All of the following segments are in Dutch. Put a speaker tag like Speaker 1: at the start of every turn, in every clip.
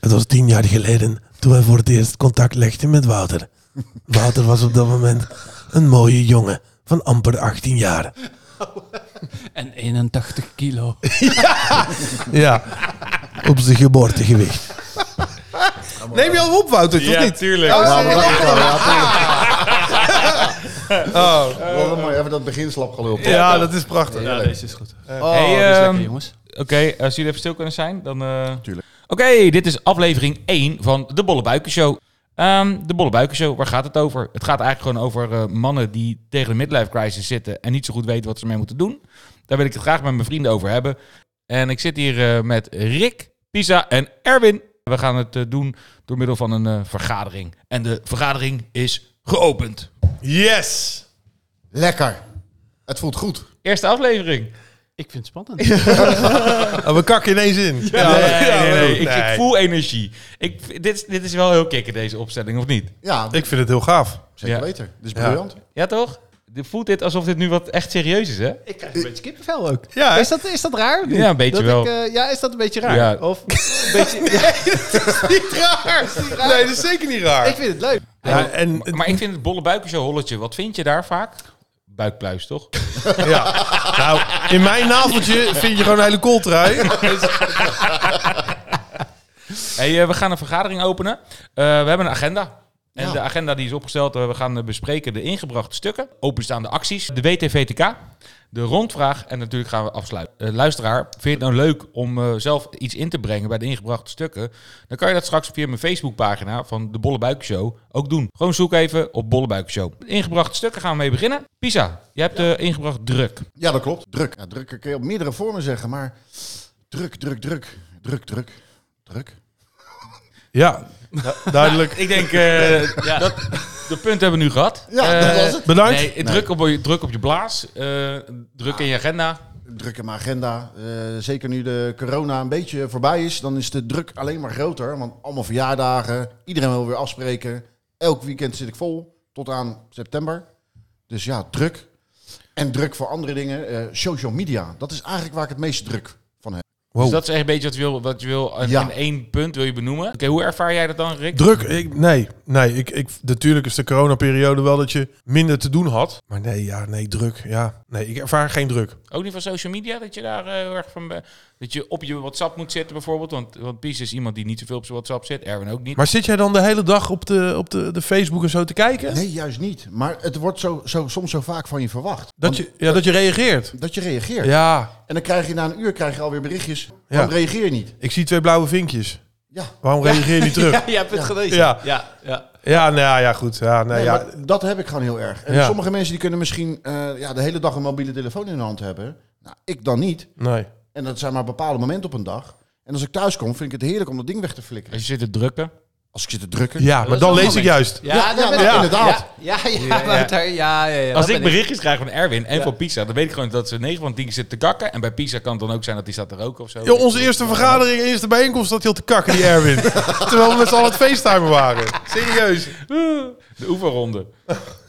Speaker 1: was tien jaar geleden toen wij voor het eerst contact legden met Wouter. Wouter was op dat moment een mooie jongen van amper 18 jaar.
Speaker 2: En 81 kilo.
Speaker 1: Ja, op zijn geboortegewicht.
Speaker 3: Neem je al op, Wouter, toch
Speaker 4: Ja,
Speaker 3: niet?
Speaker 4: tuurlijk.
Speaker 3: Oh,
Speaker 5: Ja,
Speaker 3: nee.
Speaker 5: maar wacht wel, ja,
Speaker 3: Oh,
Speaker 5: toch. Wel mooi, even dat beginslap gelopen.
Speaker 3: ja, dat is prachtig.
Speaker 2: Ja, deze is goed.
Speaker 3: Oh,
Speaker 4: Hey,
Speaker 2: Dat is
Speaker 4: ehm,
Speaker 2: lekker, jongens.
Speaker 4: Oké, als jullie even stil kunnen zijn, dan... eh,
Speaker 5: Tuurlijk.
Speaker 4: Oké, dit is aflevering 1 van de Bolle Buikenshow. Ehm de Bolle Buikenshow, waar gaat het over? Het gaat eigenlijk gewoon over eh, mannen die tegen de midlife crisis zitten... en niet zo goed weten wat ze mee moeten doen. Daar wil ik het graag met mijn vrienden over hebben. En ik zit hier eh, met Rick, Pisa en Erwin. We gaan het eh, doen door middel van een eh, vergadering. En de vergadering is geopend.
Speaker 3: Yes!
Speaker 5: Lekker. Het voelt goed.
Speaker 4: Eerste aflevering.
Speaker 2: Ik vind het spannend.
Speaker 3: Oh, we kakken ineens in.
Speaker 4: nee, nee, nee,
Speaker 3: nee.
Speaker 4: Ik, ik voel energie. Ik, dit, is- dit is wel heel kikker, deze opstelling, of niet?
Speaker 5: Ja,
Speaker 3: Ik vind het heel gaaf.
Speaker 5: zeker
Speaker 4: ja.
Speaker 5: weten. Dit is
Speaker 3: Ja.
Speaker 5: briljant.
Speaker 4: Ja, toch? Dit- Voelt dit alsof dit nu wat echt serieus is, hè?
Speaker 2: Ik krijg een beetje kippenvel ook.
Speaker 3: Ja, hè?
Speaker 2: is, dat, is dat raar? of niet?
Speaker 4: Ja, een
Speaker 2: dat
Speaker 4: beetje wel.
Speaker 2: Ik, eh, ja, is dat een beetje raar?
Speaker 4: Ja.
Speaker 2: Of een beetje, ja,
Speaker 3: Niet raar. Nee, dat is zeker niet
Speaker 2: ik
Speaker 3: raar.
Speaker 2: vind het leuk.
Speaker 3: Ja, en,
Speaker 4: Maar, maar ik vind het bolle buiken zo holletje. Wat vind je daar vaak? Buikpluis, toch?
Speaker 3: ja. Nou, in mijn naveltje vind je gewoon een hele kooltrui.
Speaker 4: Hey, eh, we gaan een vergadering openen. Eh, we hebben een agenda. En
Speaker 5: Ja.
Speaker 4: de agenda die is opgesteld, eh, we gaan eh, bespreken de ingebrachte stukken, openstaande acties, de WTVTK, de rondvraag en natuurlijk gaan we afsluiten. Eh, luisteraar, vind je het nou leuk om eh, zelf iets in te brengen bij de ingebrachte stukken? Dan kan je dat straks via mijn Facebookpagina van de Bolle Buiken Show ook doen. Gewoon zoek even op Bolle Buiken Show. De ingebrachte stukken gaan we mee beginnen. Pisa, je hebt eh, ingebracht druk.
Speaker 5: Ja, dat klopt. Druk. Ja, druk kun je op meerdere vormen zeggen, maar druk, druk, druk. Druk, druk, druk.
Speaker 3: Ja, du- duidelijk.
Speaker 4: Ik denk, eh, dat, de punten hebben we nu gehad.
Speaker 5: Ja, dat
Speaker 4: Eh,
Speaker 5: was het.
Speaker 3: Bedankt.
Speaker 4: Nee, Druk, op, je- druk op je blaas. eh, druk in je agenda.
Speaker 5: Druk in mijn agenda. Eh, zeker nu de corona een beetje voorbij is, dan is de druk alleen maar groter. Want allemaal verjaardagen, iedereen wil weer afspreken. Elk weekend zit ik vol, tot aan september. Dus ja, druk. En druk voor andere dingen. Eh, social media, dat is eigenlijk waar ik het meeste druk van heb.
Speaker 4: Dus
Speaker 3: Wow.
Speaker 4: dat is echt een beetje wat je wil. Wat je wil in,
Speaker 5: Ja.
Speaker 4: in één punt wil je benoemen. Oké, hoe ervaar jij dat dan, Rick?
Speaker 3: Druk, ik, nee, nee. Ik, ik, natuurlijk is de coronaperiode wel dat je minder te doen had. Maar nee, ja, nee, druk. Ja, nee, ik ervaar geen druk.
Speaker 4: Ook niet van social media, dat je daar eh, heel erg van... eh, dat je op je WhatsApp moet zitten bijvoorbeeld. Want, want Pies is iemand die niet zoveel op zijn WhatsApp zit. Erwin ook niet.
Speaker 3: Maar zit jij dan de hele dag op de, op de, de Facebook en zo te kijken?
Speaker 5: Nee, juist niet. Maar het wordt zo, zo, soms zo vaak van je verwacht.
Speaker 3: Dat, je, ja, dat je reageert.
Speaker 5: Dat je reageert.
Speaker 3: Ja,
Speaker 5: En dan krijg je na een uur krijg je alweer berichtjes.
Speaker 3: Ja.
Speaker 5: Waarom reageer je niet?
Speaker 3: ik zie twee blauwe vinkjes.
Speaker 5: Ja.
Speaker 3: Waarom reageer je niet terug?
Speaker 2: Ja, je hebt het gelezen.
Speaker 3: Ja.
Speaker 2: ja, ja.
Speaker 3: Ja, nou ja, ja, goed. Ja, nee,
Speaker 5: Nee,
Speaker 3: ja.
Speaker 5: maar dat heb ik gewoon heel erg. En
Speaker 3: Ja.
Speaker 5: sommige mensen die kunnen misschien eh, ja, de hele dag een mobiele telefoon in de hand hebben. Nou, ik dan niet.
Speaker 3: Nee.
Speaker 5: En dat zijn maar bepaalde momenten op een dag. En als ik thuis kom, vind ik het heerlijk om dat ding weg te flikkeren.
Speaker 4: Als je zit te drukken.
Speaker 5: Als ik zit te drukken.
Speaker 3: Ja, maar
Speaker 2: is
Speaker 3: dan
Speaker 2: wel
Speaker 3: lees ik
Speaker 2: moment.
Speaker 3: juist.
Speaker 2: Ja,
Speaker 5: Ja,
Speaker 2: daar
Speaker 5: ja,
Speaker 2: ben
Speaker 5: maar
Speaker 2: ik.
Speaker 5: inderdaad.
Speaker 2: Ja, ja, ja, Wouter, ja, ja, ja,
Speaker 4: Als
Speaker 2: dat
Speaker 4: ik
Speaker 2: ben
Speaker 4: berichtjes krijg van Erwin en
Speaker 2: Ja.
Speaker 4: van Pisa, dan weet ik gewoon dat ze 9 van 10 zit te kakken. En bij Pisa kan het dan ook zijn dat hij staat te roken of zo.
Speaker 3: Joh, onze eerste vergadering, eerste bijeenkomst, dat hij al te kakken, die Erwin. Terwijl we met z'n allen aan het facetimen waren. Serieus.
Speaker 4: De oefenronde.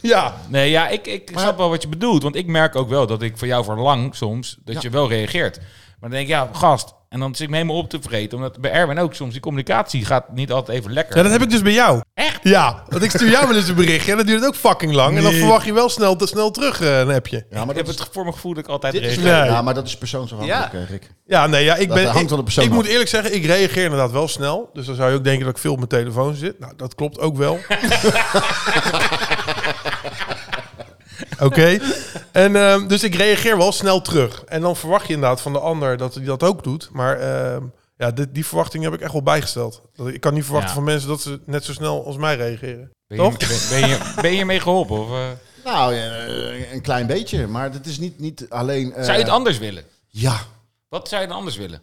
Speaker 3: Ja.
Speaker 4: Nee, ja, ik, ik snap wel wat je bedoelt. Want ik merk ook wel dat ik van jou verlang soms dat
Speaker 5: Ja.
Speaker 4: je wel reageert. Maar dan denk ik, ja, gast. En dan zit ik me helemaal op te vreten. Omdat bij Erwin ook soms die communicatie gaat niet altijd even lekker.
Speaker 3: Ja, dat heb ik dus bij jou.
Speaker 4: Echt?
Speaker 3: Ja, want ik stuur jou wel eens een berichtje en dat duurt ook fucking lang. En dan
Speaker 5: Nee.
Speaker 3: verwacht je wel snel, te snel terug eh, een appje.
Speaker 5: Ja, maar
Speaker 4: ik heb
Speaker 5: dat
Speaker 4: het
Speaker 5: is,
Speaker 4: voor mijn gevoel dat ik altijd
Speaker 2: Dit is-
Speaker 4: reageer.
Speaker 3: Nee.
Speaker 5: ja, maar dat is persoonsafhankelijk,
Speaker 2: Ja.
Speaker 5: eh, Rick.
Speaker 3: Ja, nee, ja, ik
Speaker 5: Dat
Speaker 3: ben.
Speaker 5: hangt
Speaker 3: ik,
Speaker 5: van de persoon
Speaker 3: ik
Speaker 5: af.
Speaker 3: moet eerlijk zeggen, ik reageer inderdaad wel snel. Dus dan zou je ook denken dat ik veel op mijn telefoon zit. Nou, dat klopt ook wel. Oké. En ehm, dus ik reageer wel snel terug. En dan verwacht je inderdaad van de ander dat hij dat ook doet. Maar ehm, ja, dit, die verwachting heb ik echt wel bijgesteld. Dat Ik ik kan niet verwachten
Speaker 4: Ja.
Speaker 3: van mensen dat ze net zo snel als mij reageren.
Speaker 4: Ben je, ben, ben je, ben je mee geholpen? Of, eh,
Speaker 5: Nou, eh, een klein beetje. Maar dat is niet, niet alleen... eh,
Speaker 4: zou je het anders willen?
Speaker 5: Ja.
Speaker 4: Wat zou je dan anders willen?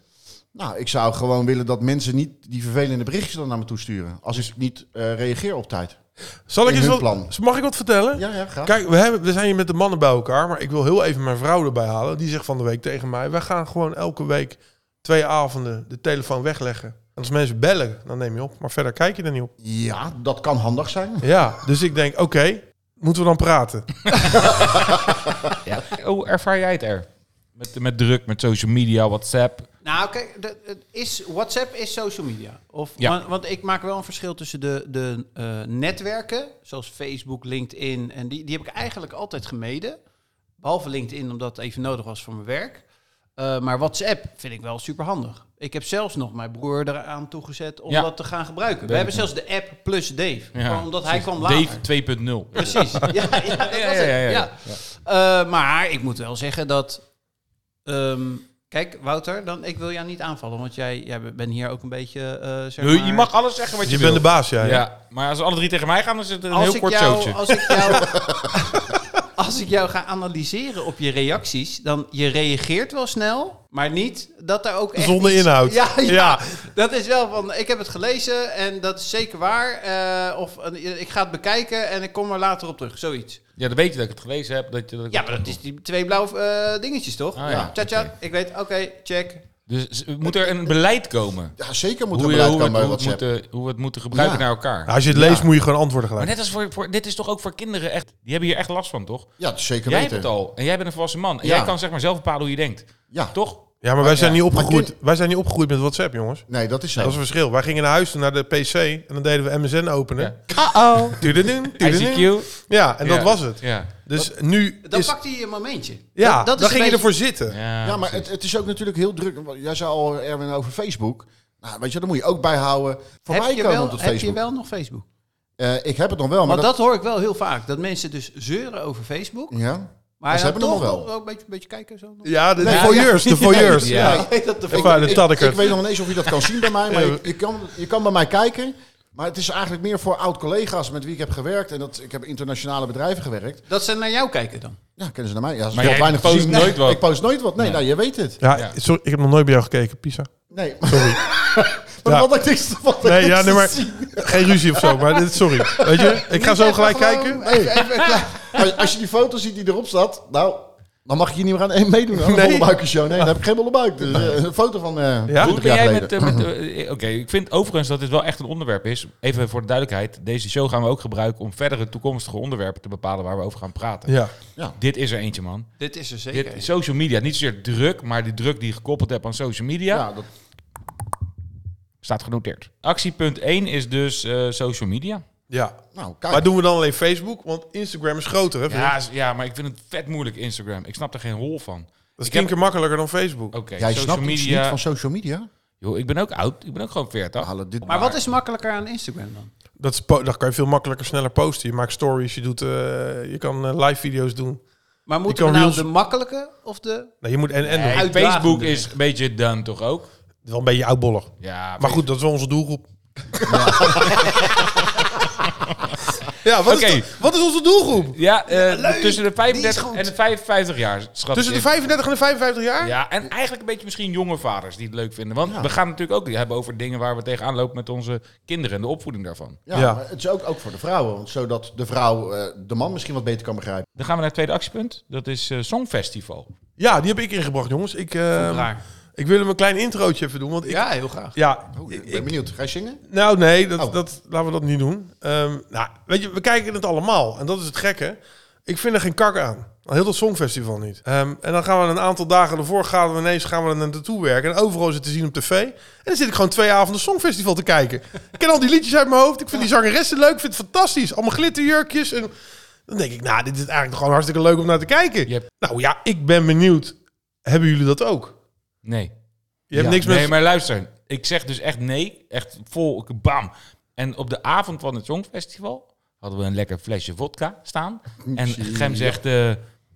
Speaker 5: Nou, ik zou gewoon willen dat mensen niet die vervelende berichtjes dan naar me toe sturen. Als ik niet eh, reageer op tijd.
Speaker 3: Zal ik
Speaker 5: In
Speaker 3: eens wat,
Speaker 5: hun plan.
Speaker 3: Mag ik wat vertellen?
Speaker 5: Ja, ja, graag.
Speaker 3: Kijk, we, hebben, we zijn hier met de mannen bij elkaar, maar ik wil heel even mijn vrouw erbij halen. Die zegt van de week tegen mij, wij gaan gewoon elke week twee avonden de telefoon wegleggen. En als mensen bellen, dan neem je op, maar verder kijk je er niet op.
Speaker 5: Ja, dat kan handig zijn.
Speaker 3: Ja, dus ik denk, oké, moeten we dan praten?
Speaker 4: Ja. Hoe ervaar jij het er? Met, met druk, met social media, WhatsApp.
Speaker 2: Nou, kijk, dat- het is, WhatsApp is social media. Of,
Speaker 4: Ja.
Speaker 2: want, want ik maak wel een verschil tussen de, de eh, netwerken, zoals Facebook, LinkedIn. En die, die heb ik eigenlijk altijd gemeden. Behalve LinkedIn, omdat het even nodig was voor mijn werk. Eh, maar WhatsApp vind ik wel superhandig. Ik heb zelfs nog mijn broer eraan toegezet om
Speaker 4: Ja.
Speaker 2: dat te gaan gebruiken.
Speaker 4: Weet
Speaker 2: We hebben
Speaker 4: ik
Speaker 2: zelfs de app plus Dave. Gewoon omdat hij kwam later.
Speaker 4: Dave 2.0.
Speaker 2: Precies. Ja, ja, dat was
Speaker 4: Ja, ja,
Speaker 2: het.
Speaker 4: ja, ja.
Speaker 2: Ja. Eh, maar ik moet wel zeggen dat. ehm, kijk, Wouter, dan, ik wil jou niet aanvallen, want jij, jij bent hier ook een beetje. eh, zeg
Speaker 4: Je
Speaker 2: maar-
Speaker 4: mag alles zeggen wat
Speaker 3: Je,
Speaker 4: je,
Speaker 3: bent de
Speaker 4: wil.
Speaker 3: baas, jij.
Speaker 4: Ja, maar als alle drie tegen mij gaan, dan is het een
Speaker 2: Als
Speaker 4: heel
Speaker 2: ik
Speaker 4: kort
Speaker 2: jou-
Speaker 4: zootje.
Speaker 2: Als ik jou. Als ik jou ga analyseren op je reacties, dan je reageert wel snel, maar niet dat er ook echt
Speaker 3: Zonder
Speaker 2: iets-
Speaker 3: inhoud.
Speaker 2: Ja, ja,
Speaker 3: Ja. Nou,
Speaker 2: dat is wel van. Ik heb het gelezen en dat is zeker waar. eh, of eh, ik ga het bekijken en ik kom er later op terug. Zoiets.
Speaker 4: Ja, dan weet je dat ik het gelezen heb. Dat je, dat ik
Speaker 2: Ja, maar dat is die twee blauwe eh, dingetjes, toch?
Speaker 4: Ah, ja.
Speaker 2: ja. Tja, tja,
Speaker 4: Oké.
Speaker 2: ik weet, oké, check.
Speaker 4: Dus z- moet er een beleid komen.
Speaker 5: Ja, zeker moet er
Speaker 4: Hoe, je,
Speaker 5: beleid
Speaker 4: hoe, we,
Speaker 5: komen bij
Speaker 4: hoe, het
Speaker 5: WhatsApp.
Speaker 4: moeten, hoe we het moeten gebruiken
Speaker 5: Ja.
Speaker 4: naar elkaar.
Speaker 3: Nou, als je het leest, moet je gewoon antwoorden
Speaker 4: Maar
Speaker 3: gelijk.
Speaker 4: net als voor, voor, dit is toch ook voor kinderen echt... Die hebben hier echt last van, toch?
Speaker 5: Ja, dat is zeker
Speaker 4: Jij hebt
Speaker 5: weten.
Speaker 4: het al. En jij bent een volwassen man. En
Speaker 5: Ja.
Speaker 4: jij kan zeg maar zelf bepalen hoe je denkt.
Speaker 5: Ja,
Speaker 4: Toch?
Speaker 3: Ja, maar wij zijn, niet
Speaker 5: Maar
Speaker 3: opgegroeid,
Speaker 5: kun-
Speaker 3: wij zijn niet opgegroeid met WhatsApp, jongens.
Speaker 5: nee, dat is zo.
Speaker 3: Dat is een verschil. Wij gingen naar huis toe, naar de PC en dan deden we MSN openen.
Speaker 4: Uh-oh.
Speaker 3: Tududun, tududun.
Speaker 4: ICQ.
Speaker 3: Ja, en dat
Speaker 4: Ja.
Speaker 3: was het.
Speaker 4: Ja.
Speaker 3: Dus nu
Speaker 2: Dan
Speaker 3: is...
Speaker 2: pakt hij een momentje.
Speaker 3: Ja,
Speaker 2: dat, dat
Speaker 3: dan
Speaker 2: is een
Speaker 3: ging je
Speaker 2: beetje-
Speaker 3: ervoor zitten.
Speaker 4: Ja,
Speaker 5: Ja, maar het, het is ook natuurlijk heel druk. Want Jij zei al, Erwin, over Facebook. Nou, weet je, dat moet je ook bijhouden. Voor
Speaker 2: Heb
Speaker 5: mij
Speaker 2: je
Speaker 5: komen
Speaker 2: wel-
Speaker 5: op dat
Speaker 2: Heb je
Speaker 5: Facebook.
Speaker 2: wel nog Facebook?
Speaker 5: Eh, ik heb het nog wel, maar
Speaker 2: Want
Speaker 5: dat...
Speaker 2: dat hoor ik wel heel vaak. Dat mensen dus zeuren over Facebook.
Speaker 5: Ja.
Speaker 2: Maar
Speaker 5: ze
Speaker 2: dan
Speaker 5: hebben hem
Speaker 2: toch
Speaker 5: nog wel.
Speaker 2: een beetje, een beetje kijken. Zo.
Speaker 3: Ja, de, de
Speaker 5: Nee,
Speaker 3: voyeurs, de voyeurs.
Speaker 4: Ja.
Speaker 3: Ja.
Speaker 2: Weet dat de
Speaker 3: Ik wou de
Speaker 5: ik,
Speaker 3: taddekert.
Speaker 5: ik weet nog niet eens of je dat kan zien bij mij, maar je, je kan, je kan bij mij kijken. Maar het is eigenlijk meer voor oud-collega's met wie ik heb gewerkt. En dat, ik heb internationale bedrijven gewerkt.
Speaker 2: Dat ze naar jou kijken dan.
Speaker 5: Ja, kennen ze naar mij. Ja, ze
Speaker 4: Maar
Speaker 5: wel
Speaker 4: jij
Speaker 5: weinig
Speaker 4: post
Speaker 5: gezien.
Speaker 4: nooit
Speaker 5: Nee,
Speaker 4: wat.
Speaker 5: Ik post nooit wat. Nee, nou, je weet het.
Speaker 3: Ja,
Speaker 4: Ja.
Speaker 3: sorry, ik heb nog nooit bij jou gekeken, Pisa.
Speaker 5: Nee. Sorry. maar
Speaker 3: Ja.
Speaker 5: wat ik niks van
Speaker 3: Nee, ja,
Speaker 5: niks
Speaker 3: nee,
Speaker 5: te
Speaker 3: maar-
Speaker 5: zien.
Speaker 3: Geen ruzie of zo, maar dit, sorry. Weet je, ik ga zo gelijk kijken.
Speaker 5: Nee. Als- Als je die foto ziet die erop staat, nou, dan mag je hier niet meer aan één meedoen aan de
Speaker 3: Nee.
Speaker 5: bollebuikenshow. Nee, dan heb ik geen bollebuik. Dus, eh, een foto van eh
Speaker 3: Ja?
Speaker 5: drie
Speaker 4: Hoe ben
Speaker 5: jaar
Speaker 4: jij met...
Speaker 5: geleden.
Speaker 4: eh, met eh, Oké, ik vind overigens dat dit wel echt een onderwerp is. Even voor de duidelijkheid. Deze show gaan we ook gebruiken om verdere toekomstige onderwerpen te bepalen waar we over gaan praten.
Speaker 3: Ja,
Speaker 4: Dit is er eentje, man.
Speaker 2: Dit is er zeker.
Speaker 4: Dit, eh, social media, niet zozeer druk, maar die druk die je gekoppeld hebt aan social media,
Speaker 5: Ja, dat,
Speaker 4: staat genoteerd. Actiepunt 1 is dus eh, social media.
Speaker 3: ja.
Speaker 5: nou,
Speaker 3: Maar
Speaker 5: kijk.
Speaker 3: doen we dan alleen Facebook? Want Instagram is groter, hè? vriend?
Speaker 4: Ja, is- ja, maar ik vind het vet moeilijk, Instagram. Ik snap er geen rol van.
Speaker 3: Dat is
Speaker 4: ik heb-
Speaker 3: tien keer makkelijker dan Facebook.
Speaker 4: Oké,
Speaker 5: Jij
Speaker 4: social
Speaker 5: snapt iets
Speaker 4: media.
Speaker 5: niet van social media?
Speaker 4: Joh, ik ben ook oud, ik ben ook gewoon 40.
Speaker 5: Halen dit
Speaker 2: Maar wat is makkelijker aan Instagram dan?
Speaker 3: Dat, is po- dat kan je veel makkelijker, sneller posten. Je maakt stories, je, doet, eh, je kan eh, live video's doen.
Speaker 2: Maar moeten we
Speaker 3: kan
Speaker 2: nou
Speaker 3: reels-
Speaker 2: de makkelijke of de...
Speaker 3: Nou, je moet en, en
Speaker 4: Nee,
Speaker 3: doen.
Speaker 2: Uitdagende.
Speaker 4: Facebook is een beetje done, toch ook?
Speaker 3: Wel een beetje oudbollig.
Speaker 4: Ja,
Speaker 3: Maar goed, dat is wel onze doelgroep. Ja, wat,
Speaker 4: Oké.
Speaker 3: is de- wat is onze doelgroep?
Speaker 4: Ja, eh,
Speaker 2: leuk.
Speaker 4: tussen de
Speaker 2: Die is
Speaker 4: 35
Speaker 2: goed.
Speaker 4: en de 55 jaar, schat.
Speaker 3: Tussen de
Speaker 4: ik.
Speaker 3: 35 en de 55 jaar?
Speaker 4: Ja, en eigenlijk een beetje misschien jonge vaders die het leuk vinden. Want
Speaker 5: Ja.
Speaker 4: we gaan natuurlijk ook hebben over dingen waar we tegenaan lopen met onze kinderen en de opvoeding daarvan.
Speaker 5: Ja,
Speaker 3: Ja.
Speaker 5: maar het is ook, ook voor de vrouwen. Want zodat de vrouw eh, de man misschien wat beter kan begrijpen.
Speaker 4: Dan gaan we naar het tweede actiepunt. Dat is eh, Songfestival.
Speaker 3: Ja, die heb ik ingebracht, jongens. Ik, eh,
Speaker 2: Raar.
Speaker 3: ik wil hem een klein introotje even doen. Want ik, ja,
Speaker 2: Ja, heel graag.
Speaker 5: Oh, ik
Speaker 3: ik-
Speaker 5: ben benieuwd. Ga je zingen?
Speaker 3: nou nee, dat,
Speaker 5: Oh.
Speaker 3: dat, laten we dat niet doen. Ehm, nou, weet je, we kijken het allemaal. En dat is het gekke. Ik vind er geen kak aan. Al Heel dat songfestival niet. Ehm, en dan gaan we een aantal dagen ervoor gaan we ineens gaan we er naartoe werken. En overal is het te zien op tv. En dan zit ik gewoon twee avonden songfestival te kijken. ik ken al die liedjes uit mijn hoofd. Ik vind die zangeressen leuk. Ik vind het fantastisch. Allemaal glitterjurkjes. En dan denk ik, nou, dit is eigenlijk gewoon hartstikke leuk om naar te kijken.
Speaker 4: Yep.
Speaker 3: Nou ja, ik ben benieuwd. Hebben jullie dat ook?
Speaker 4: Nee.
Speaker 3: Je hebt
Speaker 5: Ja,
Speaker 3: niks met...
Speaker 4: Nee, maar luister. Ik zeg dus echt nee. Echt vol, bam. En op de avond van het Songfestival hadden we een lekker flesje vodka staan. En Gem zegt... eh,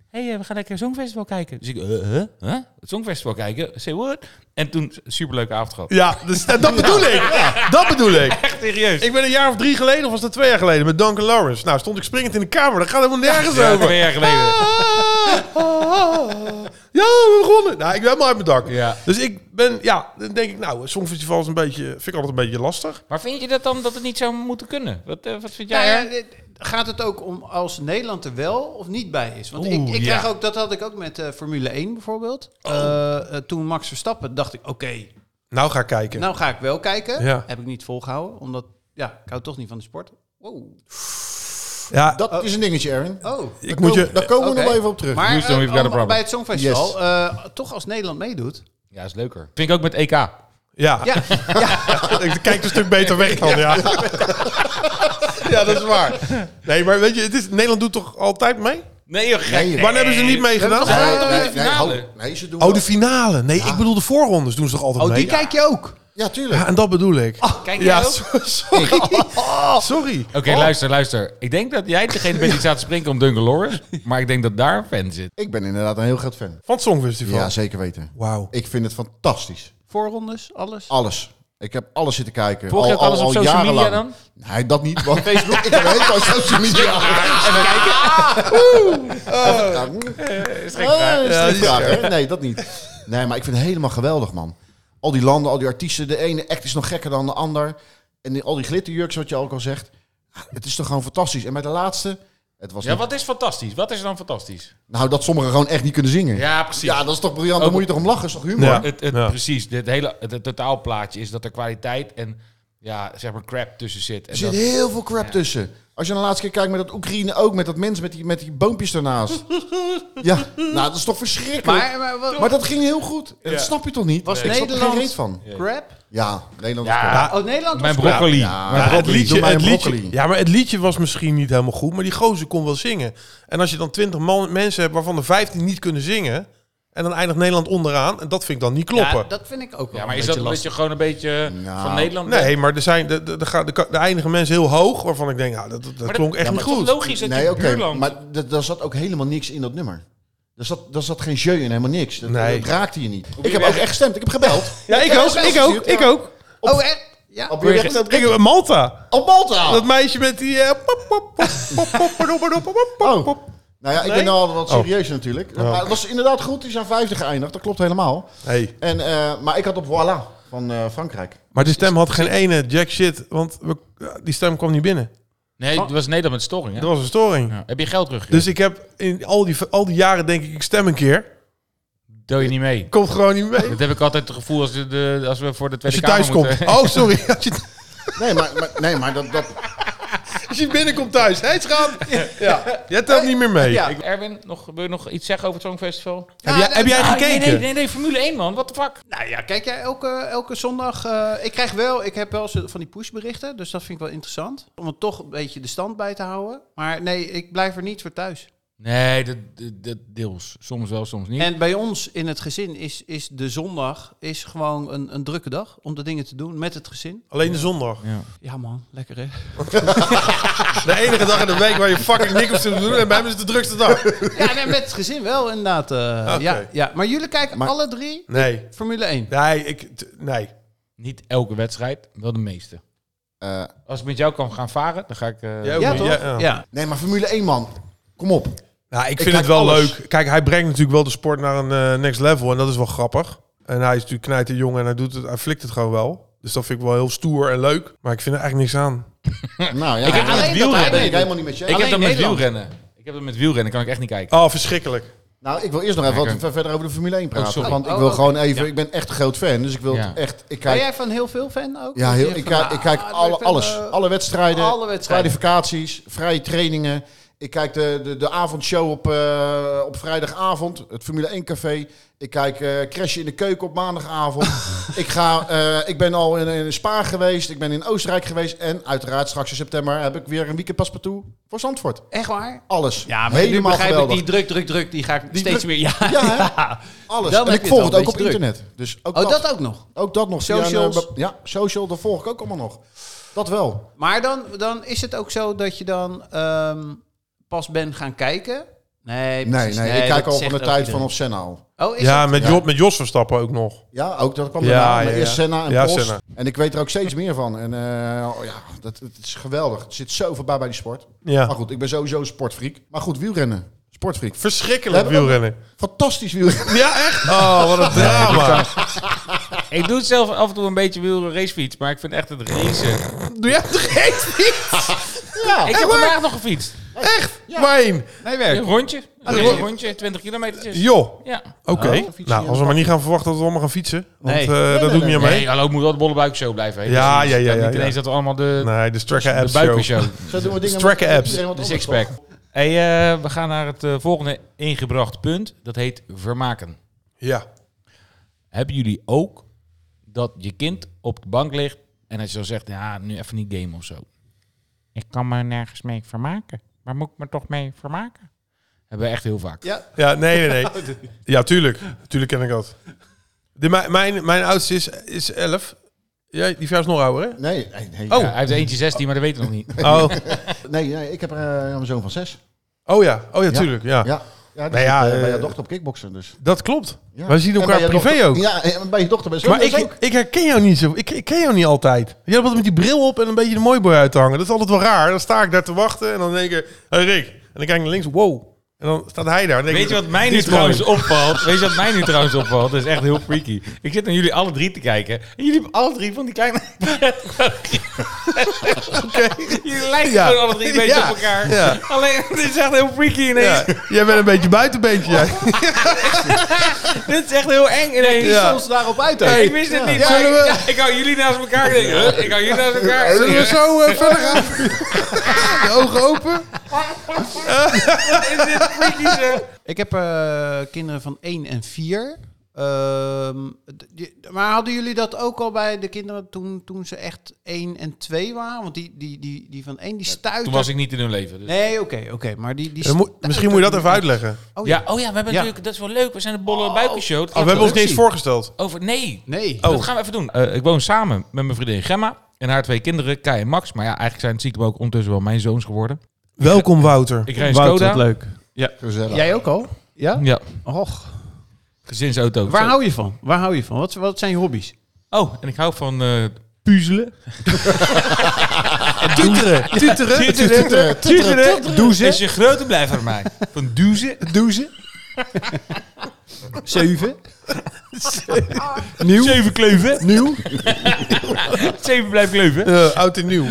Speaker 4: hey, eh, we gaan lekker Songfestival kijken. Dus ik... eh, huh? Huh? Het Songfestival kijken? Say what? En toen, superleuke avond gehad.
Speaker 3: Ja, dus, en dat bedoel ik. Dat bedoel ik.
Speaker 4: Echt serieus.
Speaker 3: Ik ben een jaar of drie geleden, of was dat twee jaar geleden, met Duncan Lawrence. Nou, stond ik springend in de kamer. Dat gaat helemaal nergens
Speaker 4: Ja,
Speaker 3: over.
Speaker 4: twee jaar geleden.
Speaker 3: Ah, ah, ah. Ja, we begonnen. Nou, ik ben helemaal uit mijn dak.
Speaker 4: Ja.
Speaker 3: Dus ik ben, ja, dan denk ik, nou, Songfestival is een beetje, vind ik altijd een beetje lastig.
Speaker 4: Maar vind je dat dan dat het niet zou moeten kunnen? Wat, eh, wat vind
Speaker 2: Ja,
Speaker 4: jij?
Speaker 2: Nou ja,
Speaker 4: hè?
Speaker 2: dit- gaat het ook om als Nederland er wel of niet bij is? Want ik,
Speaker 4: Oeh,
Speaker 2: ik
Speaker 4: ja.
Speaker 2: krijg ook, dat had ik ook met eh, Formule 1 bijvoorbeeld. Eh, eh, toen Max Verstappen dacht ik, oké,
Speaker 3: Nou, ga kijken.
Speaker 2: nou ga ik wel kijken.
Speaker 3: Ja.
Speaker 2: Heb ik niet volgehouden, omdat ja, ik hou toch niet van de sport. Wow.
Speaker 3: ja,
Speaker 5: Dat is een dingetje, Erwin.
Speaker 2: Oh.
Speaker 3: ik moet je...
Speaker 5: Daar komen we
Speaker 2: Oké.
Speaker 5: nog even op terug.
Speaker 2: Maar
Speaker 4: Houston,
Speaker 2: eh,
Speaker 4: we've got a
Speaker 2: om-
Speaker 4: problem.
Speaker 2: bij het Songfestival,
Speaker 5: Yes.
Speaker 2: eh, toch als Nederland meedoet,
Speaker 4: Ja, is leuker. Vind ik ook met E EK.
Speaker 3: Ja.
Speaker 2: Ja.
Speaker 3: Ik kijk een stuk beter weg dan, ja. Ja, dat is waar. Nee, maar weet je, het is, Nederland doet toch altijd mee?
Speaker 4: Nee, joh, gek.
Speaker 5: Nee.
Speaker 3: Wanneer hebben ze niet meegedaan?
Speaker 4: hebben
Speaker 5: Nee,
Speaker 4: toch
Speaker 5: nee,
Speaker 4: in de
Speaker 5: nee,
Speaker 4: finale?
Speaker 5: hou- nee, ze doen
Speaker 3: Oh, de
Speaker 5: wel-
Speaker 3: finale. Nee, ik bedoel de voorrondes doen ze toch altijd
Speaker 2: Oh,
Speaker 3: mee?
Speaker 2: die kijk je ook.
Speaker 5: Ja, tuurlijk.
Speaker 3: Ja, en dat bedoel ik.
Speaker 4: Kijk jij
Speaker 3: ja,
Speaker 4: ook?
Speaker 3: so- sorry. Sorry.
Speaker 4: Oké, luister, luister. Ik denk dat jij degene bent die staat te springen om Duncan Lawrence. Maar ik denk dat daar een fan zit.
Speaker 5: Ik ben inderdaad een heel groot fan.
Speaker 3: Van het Songfestival.
Speaker 5: Ja, zeker weten.
Speaker 3: Wauw.
Speaker 5: Ik vind het fantastisch.
Speaker 2: Voorrondes, alles.
Speaker 5: Alles. Ik heb alles zitten kijken.
Speaker 4: Volg je ook alles op social media
Speaker 5: dan? Nee, dat niet. Want Facebook, ik heb helemaal social media. Ah.
Speaker 4: Even kijken. Ah. Eh,
Speaker 5: Ja, mm,
Speaker 4: Is geen vraag.
Speaker 5: dat is een vraag, hè? Nee, dat niet. Nee, maar ik vind het helemaal geweldig, man. Al die landen, al die artiesten. De ene act is nog gekker dan de ander. En die- al die glitterjurks, wat je ook al zegt. Het is toch gewoon fantastisch. En bij de laatste, het was
Speaker 4: Ja,
Speaker 5: niet-
Speaker 4: wat is fantastisch? Wat is er dan fantastisch?
Speaker 5: Nou, dat sommigen gewoon echt niet kunnen zingen.
Speaker 4: Ja, Oh, precies.
Speaker 5: Ja, dat is toch briljant.
Speaker 4: Ook-
Speaker 5: Dan moet je toch om lachen, is toch humor?
Speaker 3: Ja.
Speaker 4: Het, het,
Speaker 3: Ja.
Speaker 4: Precies, het hele het, het totaalplaatje is dat er kwaliteit en ja, zeg maar crap tussen zit. En
Speaker 5: Er zit
Speaker 4: dat,
Speaker 5: heel veel crap tussen. Als je de laatste keer kijkt met dat Oekraïne ook, met dat mens met die, met die boompjes daarnaast. ja, nou dat is toch verschrikkelijk. Maar,
Speaker 2: Maar, maar wat-
Speaker 5: dat ging heel goed. Dat snap je toch niet?
Speaker 2: was
Speaker 5: Ik snap er geen
Speaker 2: Nederland
Speaker 5: reet van.
Speaker 2: crap?
Speaker 5: Ja, Nederland
Speaker 4: Ja.
Speaker 5: is crap.
Speaker 2: Oh, Nederland
Speaker 4: Mijn
Speaker 2: was crap.
Speaker 4: broccoli.
Speaker 5: Ja.
Speaker 4: Mijn
Speaker 5: Ja,
Speaker 4: broccoli.
Speaker 3: het liedje,
Speaker 5: doe mij een
Speaker 3: het liedje,
Speaker 5: broccoli.
Speaker 3: ja, maar het liedje was misschien niet helemaal goed, maar die gozer kon wel zingen. En als je dan 20 man, mensen hebt waarvan er 15 niet kunnen zingen, en dan eindigt Nederland onderaan, en dat vind ik dan niet kloppen.
Speaker 2: Ja, dat vind ik ook wel
Speaker 4: Ja, maar
Speaker 2: een
Speaker 4: is dat
Speaker 2: beetje
Speaker 4: omdat
Speaker 2: lastig.
Speaker 4: je gewoon een beetje
Speaker 5: Nou,
Speaker 4: van Nederland bent?
Speaker 3: Nee, maar er zijn de, de, de, ga- de, ka- de eindigen mensen heel hoog, waarvan ik denk, ja, dat, dat, dat
Speaker 4: Maar
Speaker 3: klonk echt
Speaker 4: ja,
Speaker 3: niet
Speaker 4: maar het is
Speaker 3: goed.
Speaker 4: toch logisch dat je
Speaker 5: Nee, oké,
Speaker 4: buurland...
Speaker 5: maar d- daar zat ook helemaal niks in dat nummer. Daar zat, daar zat geen jeu in, helemaal niks. Dat,
Speaker 3: Nee.
Speaker 5: dat raakte je niet.
Speaker 4: je
Speaker 5: Ik heb
Speaker 4: weg?
Speaker 5: ook echt gestemd, ik heb gebeld.
Speaker 3: Ja, ik ook, ik ook, ik ook.
Speaker 2: Oh, echt? Ja.
Speaker 5: Op, op,
Speaker 3: Ik, Malta.
Speaker 5: eh, Malta!
Speaker 3: Dat meisje met die... eh, pop, pop, pop, pop, pop, pop, pop, pop, pop,
Speaker 5: Oh.
Speaker 3: pop.
Speaker 5: Nou ja, ik ben
Speaker 3: Nee?
Speaker 5: nou al wat
Speaker 3: Oh.
Speaker 5: serieus natuurlijk. Maar het was inderdaad goed, die zijn vijfde geëindigd. Dat klopt helemaal.
Speaker 3: Hey.
Speaker 5: En, eh, maar ik had op Voilà van eh, Frankrijk.
Speaker 3: Maar de stem had geen ene jack shit, want we, ja, die stem kwam niet binnen.
Speaker 4: Nee, het was Nederland met storing,
Speaker 3: Dat
Speaker 4: hè?
Speaker 3: was een storing.
Speaker 4: Ja. Heb je geld teruggekregen?
Speaker 3: Dus ik heb in al die, al die jaren denk ik, ik stem een keer.
Speaker 4: Doe je niet mee.
Speaker 3: Komt gewoon niet mee.
Speaker 4: Dat heb ik altijd het gevoel als, de- de, als we voor de
Speaker 3: Als
Speaker 4: Tweede
Speaker 3: je
Speaker 4: Kamer
Speaker 3: thuis komt.
Speaker 4: moeten.
Speaker 3: Oh, sorry. Als je,
Speaker 5: Nee, maar, maar, nee, maar dat, dat...
Speaker 3: als je binnenkomt thuis. Hé, schat. Ja. Jij telt niet meer mee.
Speaker 2: Ja.
Speaker 4: Ik- Erwin, nog, wil je nog iets zeggen over het Songfestival?
Speaker 3: Heb, jij, heb jij
Speaker 4: Ah, nee,
Speaker 3: gekeken?
Speaker 4: Nee, nee, nee, Formule 1, man. Wat de fuck?
Speaker 2: Nou ja, kijk jij elke, elke zondag. eh, ik krijg wel, ik heb wel eens van die pushberichten, dus dat vind ik wel interessant. Om het toch een beetje de stand bij te houden. Maar nee, ik blijf er niet voor thuis.
Speaker 4: Nee, dat, dat, dat deels. Soms wel, soms niet.
Speaker 2: En bij ons in het gezin is, is de zondag is gewoon een, een drukke dag om de dingen te doen met het gezin.
Speaker 3: Alleen de zondag.
Speaker 4: Ja.
Speaker 2: Ja man, lekker hè.
Speaker 3: De enige dag in de week waar je fucking niks op zit te doen. En bij hem is het de drukste dag.
Speaker 2: Ja, nee, met het gezin wel inderdaad. eh,
Speaker 3: Oké.
Speaker 2: ja, ja. Maar jullie kijken
Speaker 5: Maar-
Speaker 2: alle drie
Speaker 3: Nee.
Speaker 2: Formule 1.
Speaker 3: Nee, ik... t- Nee.
Speaker 4: Niet elke wedstrijd, wel de meeste.
Speaker 5: eh,
Speaker 4: Als ik met jou kan gaan varen, dan ga ik... eh,
Speaker 3: Jij ook
Speaker 2: Ja
Speaker 3: niet?
Speaker 2: toch?
Speaker 3: Ja, ja.
Speaker 2: ja.
Speaker 5: nee, maar Formule 1, man. Kom op.
Speaker 3: Nou, ik vind
Speaker 5: kijk
Speaker 3: het wel
Speaker 5: alles.
Speaker 3: leuk. Kijk, hij brengt natuurlijk wel de sport naar een eh, next level. En dat is wel grappig. En hij is natuurlijk knijter jong en hij, doet het, hij flikt het gewoon wel. Dus dat vind ik wel heel stoer en leuk. Maar ik vind er eigenlijk niks aan.
Speaker 5: Nou ja,
Speaker 4: Hm. Ik heb
Speaker 5: ja,
Speaker 4: aan het
Speaker 5: ben
Speaker 4: wielrennen.
Speaker 5: ik ben ik helemaal niet met je.
Speaker 4: Ik heb dat met
Speaker 2: Nederland.
Speaker 4: wielrennen. Ik heb dat met wielrennen, kan ik echt niet kijken.
Speaker 3: Oh, verschrikkelijk.
Speaker 5: Nou, ik wil eerst nog even
Speaker 4: Lekker.
Speaker 5: wat ver- verder over de Formule 1 praten.
Speaker 4: sorry.
Speaker 5: want ik
Speaker 2: Oh,
Speaker 5: wil
Speaker 2: oké.
Speaker 5: gewoon even... Ik ben echt een groot fan, dus ik wil
Speaker 4: Ja.
Speaker 5: het echt... Ik
Speaker 2: Ben
Speaker 5: kijk,
Speaker 2: jij van heel veel fan ook?
Speaker 5: ja,
Speaker 2: Dat
Speaker 5: heel,
Speaker 2: je
Speaker 5: ik
Speaker 2: van,
Speaker 5: kijk, ik
Speaker 2: ah,
Speaker 5: kijk alle,
Speaker 2: ik ben,
Speaker 5: alles.
Speaker 2: eh,
Speaker 5: Alle wedstrijden,
Speaker 2: alle wedstrijden.
Speaker 5: kwalificaties, vrije trainingen. Ik kijk de, de, de avondshow op, eh, op vrijdagavond, het Formule 1 café. Ik kijk eh Crash in de keuken op maandagavond. ik, ga, eh, ik ben al in, in Spa geweest, ik ben in Oostenrijk geweest. En uiteraard straks in september heb ik weer een weekend paspartout voor Zandvoort.
Speaker 2: Echt waar?
Speaker 5: Alles.
Speaker 2: Ja, maar nu begrijp
Speaker 5: geweldig.
Speaker 2: ik die druk, druk, druk. Die ga ik steeds
Speaker 5: druk-
Speaker 2: meer... Ja,
Speaker 5: Ja, hè? Alles.
Speaker 2: Dan heb je
Speaker 5: en ik
Speaker 2: het
Speaker 5: volg
Speaker 2: wel
Speaker 5: het
Speaker 2: een
Speaker 5: ook
Speaker 2: beetje
Speaker 5: op
Speaker 2: druk.
Speaker 5: internet. Dus ook
Speaker 2: Oh,
Speaker 5: dat,
Speaker 2: dat ook nog.
Speaker 5: ook dat nog. via een, eh,
Speaker 2: Socials.
Speaker 5: be- ja, social, dat volg ik ook allemaal nog. Dat wel.
Speaker 2: Maar dan, dan is het ook zo dat je dan ehm, pas bent gaan kijken? Nee,
Speaker 5: Nee,
Speaker 2: precies.
Speaker 5: nee, ik kijk
Speaker 2: dat
Speaker 5: al van de
Speaker 2: zegt
Speaker 5: tijd
Speaker 2: ook
Speaker 5: van
Speaker 2: iedereen.
Speaker 5: Senna al.
Speaker 2: Oh, is
Speaker 3: Ja,
Speaker 2: dat-
Speaker 3: met,
Speaker 5: Ja.
Speaker 3: Jo- met Jos Verstappen ook nog.
Speaker 5: Ja, ook dat kwam
Speaker 3: Ja,
Speaker 5: daarna.
Speaker 3: ja,
Speaker 5: maar
Speaker 3: ja.
Speaker 5: Eerst Senna en
Speaker 3: Ja,
Speaker 5: Prost.
Speaker 3: Senna.
Speaker 5: En ik weet er ook steeds meer van. En eh, oh ja, dat, het is geweldig. Het zit zo voorbij bij die sport. Maar
Speaker 3: Ja.
Speaker 5: goed, ik ben sowieso een sportfreak. Maar goed, wielrennen. Sportfreak.
Speaker 3: Verschrikkelijk
Speaker 5: We hebben-
Speaker 3: wielrennen.
Speaker 5: Fantastisch wielrennen.
Speaker 3: Ja, echt? Oh, wat een drama.
Speaker 4: Ik doe het zelf af en toe een beetje wielrennen racefiets, maar ik vind echt het racen...
Speaker 3: Doe jij het geen?
Speaker 5: Ja,
Speaker 4: Ik heb
Speaker 3: waar?
Speaker 4: vandaag nog gefietst.
Speaker 3: Echt? Waarheen?
Speaker 4: Nee, werk. Een rondje. Een
Speaker 3: rond-
Speaker 4: rondje, 20 kilometertjes.
Speaker 3: Joh.
Speaker 4: Ja.
Speaker 3: Oké. Nou, als we maar niet gaan verwachten dat we allemaal gaan fietsen. Want
Speaker 2: Nee.
Speaker 3: eh, dat doet niet aan mee.
Speaker 4: Nee, hallo, moet wel de bollebuikshow blijven. hè?
Speaker 3: Ja,
Speaker 4: Dus
Speaker 3: ja, ja,
Speaker 4: het is
Speaker 3: ja,
Speaker 4: Niet ineens
Speaker 3: ja.
Speaker 4: dat we allemaal de,
Speaker 3: Nee, de Stracker
Speaker 4: de
Speaker 3: Apps show.
Speaker 4: buikenshow,
Speaker 5: zo doen we dingen.
Speaker 3: Strakke
Speaker 5: met- met
Speaker 3: apps.
Speaker 5: iedereen wat
Speaker 4: de
Speaker 5: anders,
Speaker 4: sixpack.
Speaker 5: toch?
Speaker 4: Hey, eh, we gaan naar het eh, volgende ingebracht punt. Dat heet vermaken.
Speaker 3: Ja.
Speaker 4: Hebben jullie ook dat je kind op de bank ligt en hij zo zegt, ja, nu even niet game of zo? Ik kan me nergens mee vermaken. Waar moet ik me toch mee vermaken? Hebben we echt heel vaak.
Speaker 2: Ja,
Speaker 3: Ja, nee, nee,
Speaker 4: Oh,
Speaker 3: nee. Ja, tuurlijk. Tuurlijk ken ik dat. De, mijn, mijn, mijn oudste is, is 11. Jij, die van jou is nog ouder, hè?
Speaker 5: Nee, nee, nee.
Speaker 4: Ja, hij heeft eentje 16, maar dat weten we nog niet.
Speaker 3: Oh,
Speaker 5: nee, nee ik heb eh, een zoon van zes.
Speaker 3: oh ja. Oh ja, tuurlijk. Ja.
Speaker 5: Ja. Ja, die
Speaker 3: Nou
Speaker 5: zit,
Speaker 3: ja,
Speaker 5: eh, bij
Speaker 3: eh,
Speaker 5: jouw dochter op kickboksen dus.
Speaker 3: Dat klopt.
Speaker 5: Ja.
Speaker 3: Wij zien
Speaker 5: En bij
Speaker 3: elkaar
Speaker 5: jouw
Speaker 3: privé
Speaker 5: dochter-
Speaker 3: ook.
Speaker 5: Ja, en bij je dochter bij
Speaker 3: Maar
Speaker 5: ik,
Speaker 3: ik, ik herken jou niet zo. Ik, ik ken jou niet altijd. Jij hebt altijd met die bril op en een beetje de mooi boy uit te hangen. Dat is altijd wel raar. Dan sta ik daar te wachten en dan denk ik, hé hey Rick. En dan kijk ik naar links, wow. En dan staat hij daar. Dan denk
Speaker 4: Weet
Speaker 3: ik,
Speaker 4: je wat mij
Speaker 3: die
Speaker 4: nu
Speaker 3: is mooi.
Speaker 4: trouwens opvalt? Weet je wat mij nu trouwens opvalt? Dat is echt heel freaky. Ik zit naar jullie alle drie te kijken. En jullie hebben alle drie van die kleine
Speaker 3: Oké.
Speaker 4: Jullie lijken
Speaker 3: Ja.
Speaker 4: gewoon alle drie een beetje
Speaker 3: Ja.
Speaker 4: op elkaar.
Speaker 3: Ja.
Speaker 4: Alleen, dit is echt heel freaky ineens.
Speaker 3: Ja. Jij bent een beetje buitenbeentje, jij.
Speaker 4: Dit is echt heel eng ineens.
Speaker 3: Ja.
Speaker 2: soms daarop uit. hè?
Speaker 4: Ik wist het niet.
Speaker 3: Ja.
Speaker 4: maar
Speaker 3: Zullen we-
Speaker 4: ik, ik hou jullie naast elkaar. Ik, denk, huh? ik hou jullie naast elkaar.
Speaker 3: Zullen we zo eh, verder gaan? De ogen open.
Speaker 4: Is dit freaky zo?
Speaker 2: Ik heb eh, kinderen van 1 en 4. Ehm, d- die- maar hadden jullie dat ook al bij de kinderen toen, toen ze echt 1 en 2 waren? Want die, die, die, die van 1 die stuitte.
Speaker 4: Toen was ik niet in hun leven. dus-
Speaker 2: Nee, oké, oké. maar die, die
Speaker 3: Dan moet-
Speaker 2: stuitte
Speaker 3: Misschien moet je dat
Speaker 2: niet.
Speaker 3: even uitleggen.
Speaker 2: Oh, ja.
Speaker 4: ja. Oh ja, we
Speaker 2: Ja.
Speaker 4: hebben natuurlijk... Dat is wel leuk. We zijn de bolle buikenshow. Dat
Speaker 3: Oh, we
Speaker 4: gaat
Speaker 3: hebben ons
Speaker 4: leuk
Speaker 3: niet eens
Speaker 4: zien.
Speaker 3: voorgesteld.
Speaker 4: Over... Nee.
Speaker 2: Nee.
Speaker 3: Oh.
Speaker 4: Dat gaan we even doen. Eh, ik woon samen met mijn vriendin Gemma. En haar twee kinderen, Kai en Max. Maar ja, eigenlijk zijn het stiekem ook ondertussen wel mijn zoons geworden.
Speaker 3: Welkom, Wouter.
Speaker 4: Ik reed een Skoda.
Speaker 2: leuk. Jij ook al? Ja?
Speaker 4: Ja,
Speaker 2: Och.
Speaker 4: gezinsauto.
Speaker 2: Waar hou je van? Waar hou je van? Wat, wat zijn je hobby's?
Speaker 4: Oh, en ik hou van eh, puzzelen.
Speaker 3: Tuteren. Tuteren. Tuteren. Tuteren.
Speaker 4: Is je grote blijft voor mij. Van duzen.
Speaker 3: Doezen.
Speaker 2: Zeven.
Speaker 4: Nieuw. Zeven kleuven.
Speaker 3: Nieuw.
Speaker 4: Zeven blijft kleuven.
Speaker 3: Eh, oud en nieuw.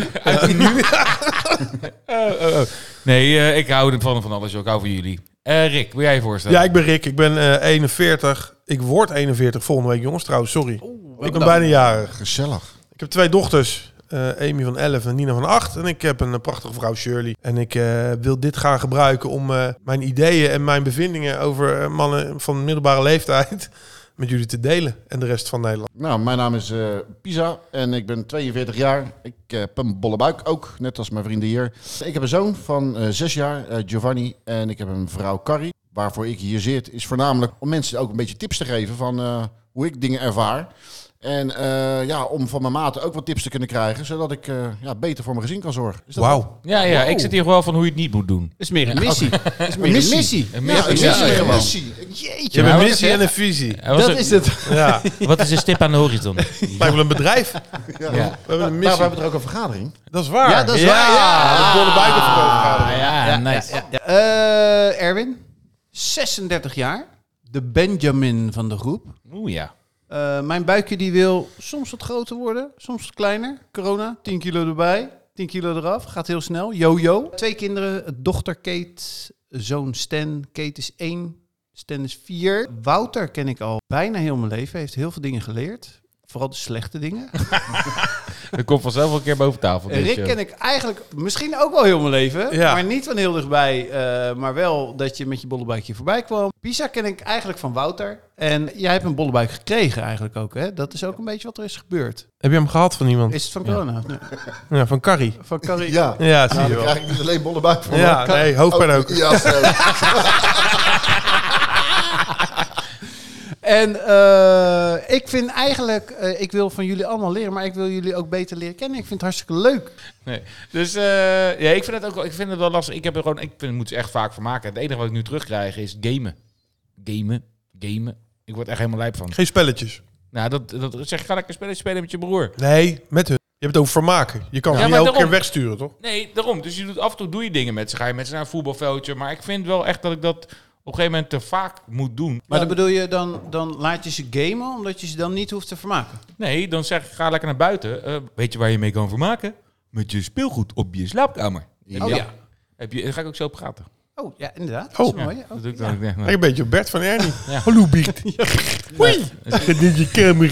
Speaker 4: Nee, eh, ik hou ervan van alles. joh. Ik hou van jullie. Eh, Rick, wil jij je voorstellen?
Speaker 3: Ja, ik ben Rick. Ik ben eh, 41. Ik word 41 volgende week, jongens. Trouwens, sorry. ik ben
Speaker 2: dan?
Speaker 3: bijna jarig.
Speaker 5: Gezellig.
Speaker 3: Ik heb twee dochters. eh, Amy van 11 en Nina van 8. En ik heb een eh, prachtige vrouw, Shirley. En ik eh, wil dit gaan gebruiken om eh, mijn ideeën en mijn bevindingen over eh, mannen van middelbare leeftijd met jullie te delen. En de rest van Nederland.
Speaker 5: Nou, mijn naam is eh, Pisa en ik ben 42 jaar. Ik heb een bolle buik ook, net als mijn vrienden hier. Ik heb een zoon van eh, zes jaar, eh, Giovanni, en ik heb een vrouw, Carrie. Waarvoor ik hier zit, is voornamelijk om mensen ook een beetje tips te geven van eh, hoe ik dingen ervaar. En eh, ja, om van mijn maten ook wat tips te kunnen krijgen, zodat ik eh, ja, beter voor mijn gezin kan zorgen. Is dat
Speaker 3: Wauw.
Speaker 4: Ja, ja, ik zit hier gewoon van hoe je het niet moet doen.
Speaker 2: Is meer een missie. Is meer
Speaker 5: Een
Speaker 2: een
Speaker 5: missie.
Speaker 2: missie.
Speaker 4: Een
Speaker 5: Ja, ik
Speaker 4: missie.
Speaker 5: zit
Speaker 2: Ja,
Speaker 5: hier
Speaker 2: ja,
Speaker 5: gewoon.
Speaker 3: Je
Speaker 2: Jeetje.
Speaker 3: hebt
Speaker 4: maar
Speaker 3: een
Speaker 4: wat
Speaker 3: missie
Speaker 4: is Oh.
Speaker 3: en een visie.
Speaker 4: Ja, wat,
Speaker 2: Dat
Speaker 4: is
Speaker 2: is het.
Speaker 3: Ja.
Speaker 4: een, wat is een stip aan de horizon?
Speaker 3: Lijkt wel een bedrijf.
Speaker 5: Ja.
Speaker 4: Ja.
Speaker 3: We hebben een
Speaker 5: Nou, we
Speaker 3: missie.
Speaker 5: hebben er ook een vergadering.
Speaker 3: Dat is waar.
Speaker 2: Ja, dat is waar, ja.
Speaker 3: De bolle buik op
Speaker 4: Ah, ja, nice.
Speaker 2: Eh, Erwin, 36 jaar. De Benjamin van de groep.
Speaker 4: Oeh ja.
Speaker 2: Eh, mijn buikje die wil soms wat groter worden, soms wat kleiner. Corona, 10 kilo erbij, 10 kilo eraf. Gaat heel snel. Yo-yo. Twee kinderen, dochter Kate, zoon Stan. Kate is 1, Stan is 4. Wouter ken ik al bijna heel mijn leven. Heeft heel veel dingen geleerd. Vooral de slechte dingen.
Speaker 4: Dat komt vanzelf wel een keer boven tafel.
Speaker 2: Eh,
Speaker 4: dit,
Speaker 2: Rick
Speaker 4: joh.
Speaker 2: ken ik eigenlijk misschien ook wel heel mijn leven.
Speaker 3: Ja.
Speaker 2: Maar niet van heel dichtbij. eh, maar wel dat je met je bollebuikje voorbij kwam. Pisa ken ik eigenlijk van Wouter. En jij hebt een bollebuik gekregen eigenlijk ook. Hè? Dat is ook een beetje wat er is gebeurd.
Speaker 3: Heb je hem gehad van iemand?
Speaker 2: Is het van corona? Nee,
Speaker 3: Ja, van Carrie.
Speaker 2: Van Carrie.
Speaker 5: Ja,
Speaker 3: Ja, zie
Speaker 5: Nou,
Speaker 3: je
Speaker 5: dan
Speaker 3: wel.
Speaker 5: krijg ik niet alleen bolle buik van. Oh,
Speaker 3: Ja, nee, hoofdpijn ook.
Speaker 5: Ja, zo.
Speaker 2: En eh, ik vind eigenlijk, eh, ik wil van jullie allemaal leren, maar ik wil jullie ook beter leren kennen. Ik vind het hartstikke leuk.
Speaker 4: Nee. Dus eh, ja, ik vind het ook wel, ik vind het wel lastig. Ik heb er gewoon, ik vind, moet er echt vaak van maken. Het enige wat ik nu terugkrijg is gamen. Gamen, gamen. Ik word echt helemaal lijp van.
Speaker 3: Geen spelletjes.
Speaker 4: Nou, dat, dat zeg, ga lekker spelen, spelen met je broer.
Speaker 3: Nee, met hun. Je hebt het over vermaken. Je kan
Speaker 4: Ja,
Speaker 3: ze niet
Speaker 4: maar
Speaker 3: elke
Speaker 4: daarom.
Speaker 3: keer wegsturen, toch?
Speaker 4: Nee, daarom. Dus je doet, af en toe doe je dingen met ze. Ga je met ze naar een voetbalveldje. Maar ik vind wel echt dat ik dat op een gegeven moment te vaak moet doen.
Speaker 2: Maar dan bedoel je, dan, dan laat je ze gamen, omdat je ze dan niet hoeft te vermaken.
Speaker 4: Nee, dan zeg ik, ga lekker naar buiten. Eh, weet je waar je mee kan vermaken? Met je speelgoed op je slaapkamer.
Speaker 5: Ja.
Speaker 2: Oh ja.
Speaker 4: Heb je, daar ga ik ook zo op praten.
Speaker 2: Oh ja, inderdaad. Dat is mooi. Oh,
Speaker 4: Dat doe ik
Speaker 2: ja.
Speaker 4: dan. ook echt.
Speaker 3: Lijkt een beetje op Bert van Ernie.
Speaker 4: Ja.
Speaker 3: Hallo, Biet. Hoi. Dit is je kamer.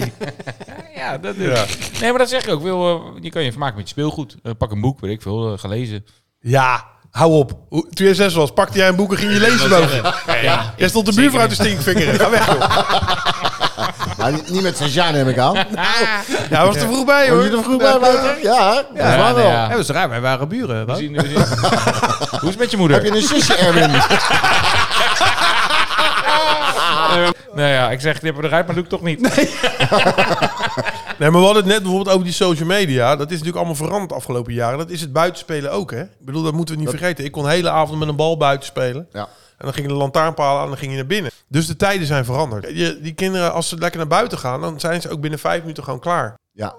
Speaker 4: Ja, dat doe ik.
Speaker 3: Ja.
Speaker 4: Nee, maar dat zeg ik ook. Wil, eh, je kan je vermaken met je speelgoed. Eh, pak een boek, weet ik veel, eh, gelezen.
Speaker 3: ja, hou op. Hoe- Toen je zes was, pakte jij een boek en ging je lezen boven. Jij stond de buurvrouw te stinkvingeren. Ga weg, joh.
Speaker 5: Maar Nou, niet- niet met Sajan neem ik aan.
Speaker 3: Ja, was er vroeg bij,
Speaker 5: Word
Speaker 3: hoor.
Speaker 5: je er vroeg bij, Wouter? Ja, hè? dat is waar
Speaker 4: nee,
Speaker 5: wel.
Speaker 4: ja.
Speaker 2: Ja, dat is raar, wij waren buren.
Speaker 4: We
Speaker 2: Wout.
Speaker 4: zien- we zien- Hoe is het met je moeder?
Speaker 5: Heb je een zusje, Erwin?
Speaker 4: Nou ja, ik zeg, knip hem eruit, maar doe ik toch niet.
Speaker 3: Nee, maar we hadden het net bijvoorbeeld over die social media. Dat is natuurlijk allemaal veranderd de afgelopen jaren. Dat is het buitenspelen ook, hè? Ik bedoel, dat moeten we niet vergeten. Ik kon hele avond met een bal buiten spelen.
Speaker 5: Ja.
Speaker 3: En dan ging de lantaarnpalen aan en dan ging je naar binnen. Dus de tijden zijn veranderd. Je, die kinderen, als ze lekker naar buiten gaan, dan zijn ze ook binnen vijf minuten gewoon klaar.
Speaker 5: Ja,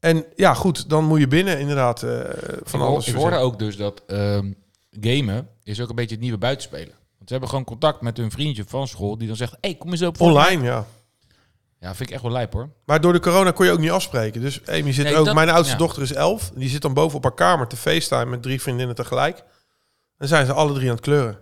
Speaker 3: En ja, goed, dan moet je binnen inderdaad eh,
Speaker 4: Van
Speaker 3: van
Speaker 4: ik,
Speaker 3: alles
Speaker 4: alles ik hoorde ook dus dat ehm, gamen is ook een beetje het nieuwe buitenspelen. Want ze hebben gewoon contact met hun vriendje van school die dan zegt, hey, kom eens op Fortnite."
Speaker 3: Online, ja.
Speaker 4: Ja, vind ik echt wel lijp hoor.
Speaker 3: Maar door de corona kon je ook niet afspreken. Dus Amy zit
Speaker 4: Nee,
Speaker 3: er ook.
Speaker 4: dat-
Speaker 3: Mijn oudste
Speaker 4: ja.
Speaker 3: dochter is elf. Die zit dan boven op haar kamer te facetime met drie vriendinnen tegelijk. En zijn ze alle drie aan het kleuren.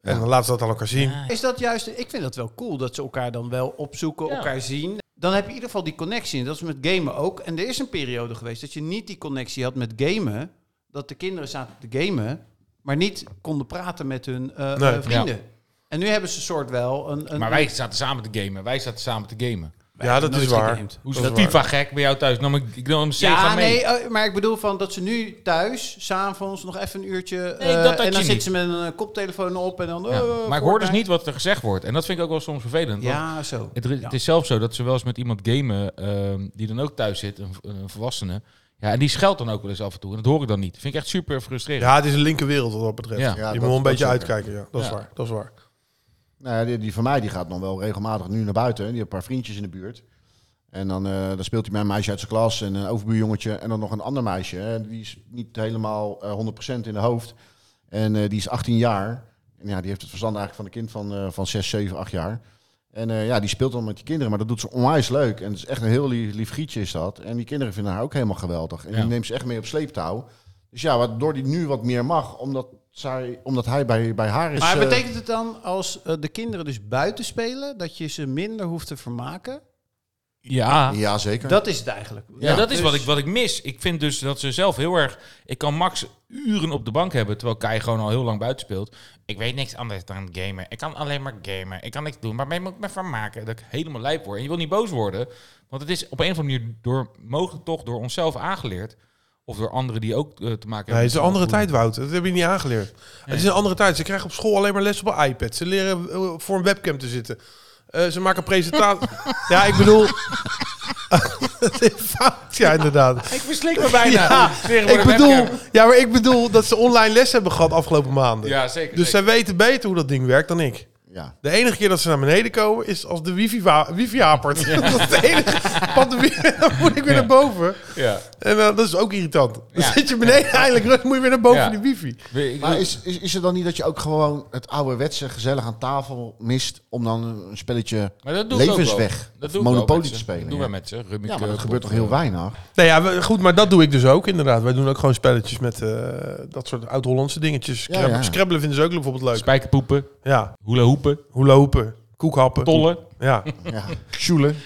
Speaker 3: En dan laten ze dat aan elkaar zien.
Speaker 2: Is dat juist, ik vind dat wel cool dat ze elkaar dan wel opzoeken,
Speaker 4: Ja.
Speaker 2: elkaar zien. Dan heb je in ieder geval die connectie. En dat is met gamen ook. En er is een periode geweest dat je niet die connectie had met gamen. Dat de kinderen zaten te gamen, maar niet konden praten met hun eh,
Speaker 3: Nee.
Speaker 2: eh, vrienden. En nu hebben ze een soort wel een. een
Speaker 4: Maar wij zaten samen te gamen. Wij zaten samen te gamen.
Speaker 3: Ja, dat is
Speaker 2: nooit
Speaker 3: waar.
Speaker 2: gegamed.
Speaker 4: Hoe is
Speaker 3: Dat
Speaker 4: dat
Speaker 3: is
Speaker 4: FIFA gek bij jou thuis? Nam ik, ik nam een Sega
Speaker 2: Ja,
Speaker 4: mee.
Speaker 2: nee, eh, maar ik bedoel van dat ze nu thuis, s'avonds, nog even een uurtje.
Speaker 4: Nee,
Speaker 2: eh,
Speaker 4: dat had
Speaker 2: en
Speaker 4: je
Speaker 2: dan zitten
Speaker 4: niet.
Speaker 2: ze met een eh, koptelefoon op en dan.
Speaker 4: Ja.
Speaker 2: eh,
Speaker 4: Maar ik hoor dus
Speaker 2: Fortnite.
Speaker 4: niet wat er gezegd wordt. En dat vind ik ook wel soms vervelend. want
Speaker 2: Ja, zo.
Speaker 4: Het, er-
Speaker 2: Ja.
Speaker 4: het is zelfs zo dat ze wel eens met iemand gamen ehm, die dan ook thuis zit, een, een volwassene. Ja, en die scheldt dan ook wel eens af en toe. En dat hoor ik dan niet. Vind ik echt super frustrerend.
Speaker 3: Ja, het is een linker wereld wat dat betreft.
Speaker 4: Ja.
Speaker 5: Ja,
Speaker 3: je
Speaker 5: dat-
Speaker 3: moet wel een
Speaker 5: dat
Speaker 3: beetje
Speaker 5: zeker.
Speaker 3: uitkijken. Ja, dat is
Speaker 4: Ja.
Speaker 3: waar. Dat is waar.
Speaker 5: Nou ja, die, die van mij die gaat dan wel regelmatig nu naar buiten. hè. Die heeft een paar vriendjes in de buurt. En dan, eh, dan speelt hij met een meisje uit zijn klas en een overbuurjongetje. En dan nog een ander meisje. hè. Die is niet helemaal eh, 100% in de hoofd. En eh, die is 18 jaar. En ja, die heeft het verstand eigenlijk van een kind van, eh, van 6, 7, 8 jaar. En eh, ja, die speelt dan met die kinderen. Maar dat doet ze onwijs leuk. En het is echt een heel lief, lief gietje is dat. En die kinderen vinden haar ook helemaal geweldig. En
Speaker 4: Ja.
Speaker 5: die neemt ze echt mee op sleeptouw. Dus ja, waardoor die nu wat meer mag. Omdat, zij, omdat hij bij, bij haar is...
Speaker 2: Maar
Speaker 5: eh,
Speaker 2: betekent het dan als eh, de kinderen dus buiten spelen, dat je ze minder hoeft te vermaken?
Speaker 4: Ja, ja.
Speaker 5: Ja, zeker.
Speaker 2: Dat is het eigenlijk. Dus
Speaker 4: dat
Speaker 5: dus-
Speaker 4: is wat, ik, wat ik mis. Ik vind dus dat ze zelf heel erg... Ik kan Max uren op de bank hebben, terwijl Kai gewoon al heel lang buiten speelt. Ik weet niks anders dan gamen. Ik kan alleen maar gamen. Ik kan niks doen. Waarmee moet ik me vermaken? Dat ik helemaal lijp word. En je wil niet boos worden. Want het is op een of andere manier door, mogelijk toch door onszelf aangeleerd. Of door anderen die ook eh, te maken hebben.
Speaker 3: Nee, het is een andere
Speaker 4: met-
Speaker 3: tijd, Wout. Dat heb je niet aangeleerd. Het is een andere tijd. Ze krijgen op school alleen maar les op een iPad. Ze leren eh, voor een webcam te zitten. Eh, ze maken presentaties. ja, ik bedoel... Het is fout, ja, inderdaad.
Speaker 4: Ik verslik me bijna.
Speaker 3: Ja,
Speaker 4: Tegen
Speaker 3: ik
Speaker 4: de
Speaker 3: bedoel,
Speaker 4: webcam.
Speaker 3: ja, maar ik bedoel dat ze online les hebben gehad afgelopen maanden.
Speaker 4: Ja, zeker.
Speaker 3: dus
Speaker 4: zeker.
Speaker 3: zij weten beter hoe dat ding werkt dan ik.
Speaker 5: Ja.
Speaker 3: De enige keer dat ze naar beneden komen is als de wifi, wa- wifi hapert. dat is de enige. Want de wi- dan moet ik weer
Speaker 4: Ja.
Speaker 3: naar boven.
Speaker 4: Ja.
Speaker 3: En eh, dat is ook irritant. Dan
Speaker 4: Ja.
Speaker 3: zit je beneden eigenlijk, dan moet je weer naar boven
Speaker 4: Ja.
Speaker 3: die wifi.
Speaker 4: We- ik-
Speaker 5: Maar is, is, is het dan niet dat je ook gewoon het ouderwetse gezellig aan tafel mist om dan een spelletje
Speaker 4: maar dat doe ik ook wel.
Speaker 5: levensweg,
Speaker 4: Dat
Speaker 5: of
Speaker 4: doe ik wel met
Speaker 5: Monopoly
Speaker 4: ze.
Speaker 5: te spelen?
Speaker 4: Dat doen
Speaker 5: ja.
Speaker 4: wij met ze. Rummikub,
Speaker 5: Ja, maar dat
Speaker 4: of,
Speaker 5: gebeurt toch
Speaker 4: eh,
Speaker 5: heel weinig?
Speaker 3: Nou ja, we- goed, maar dat doe ik dus ook inderdaad. Wij doen ook gewoon spelletjes met eh, dat soort oud-Hollandse dingetjes.
Speaker 5: Ja,
Speaker 3: Scrab-
Speaker 5: ja.
Speaker 3: Scrabbelen vinden ze ook bijvoorbeeld leuk.
Speaker 4: Spijkerpoepen,
Speaker 3: Ja,
Speaker 4: hula hoepen,
Speaker 3: hoe lopen, koekhappen.
Speaker 4: tollen.
Speaker 3: Ja.
Speaker 5: Ja. Sjoelen.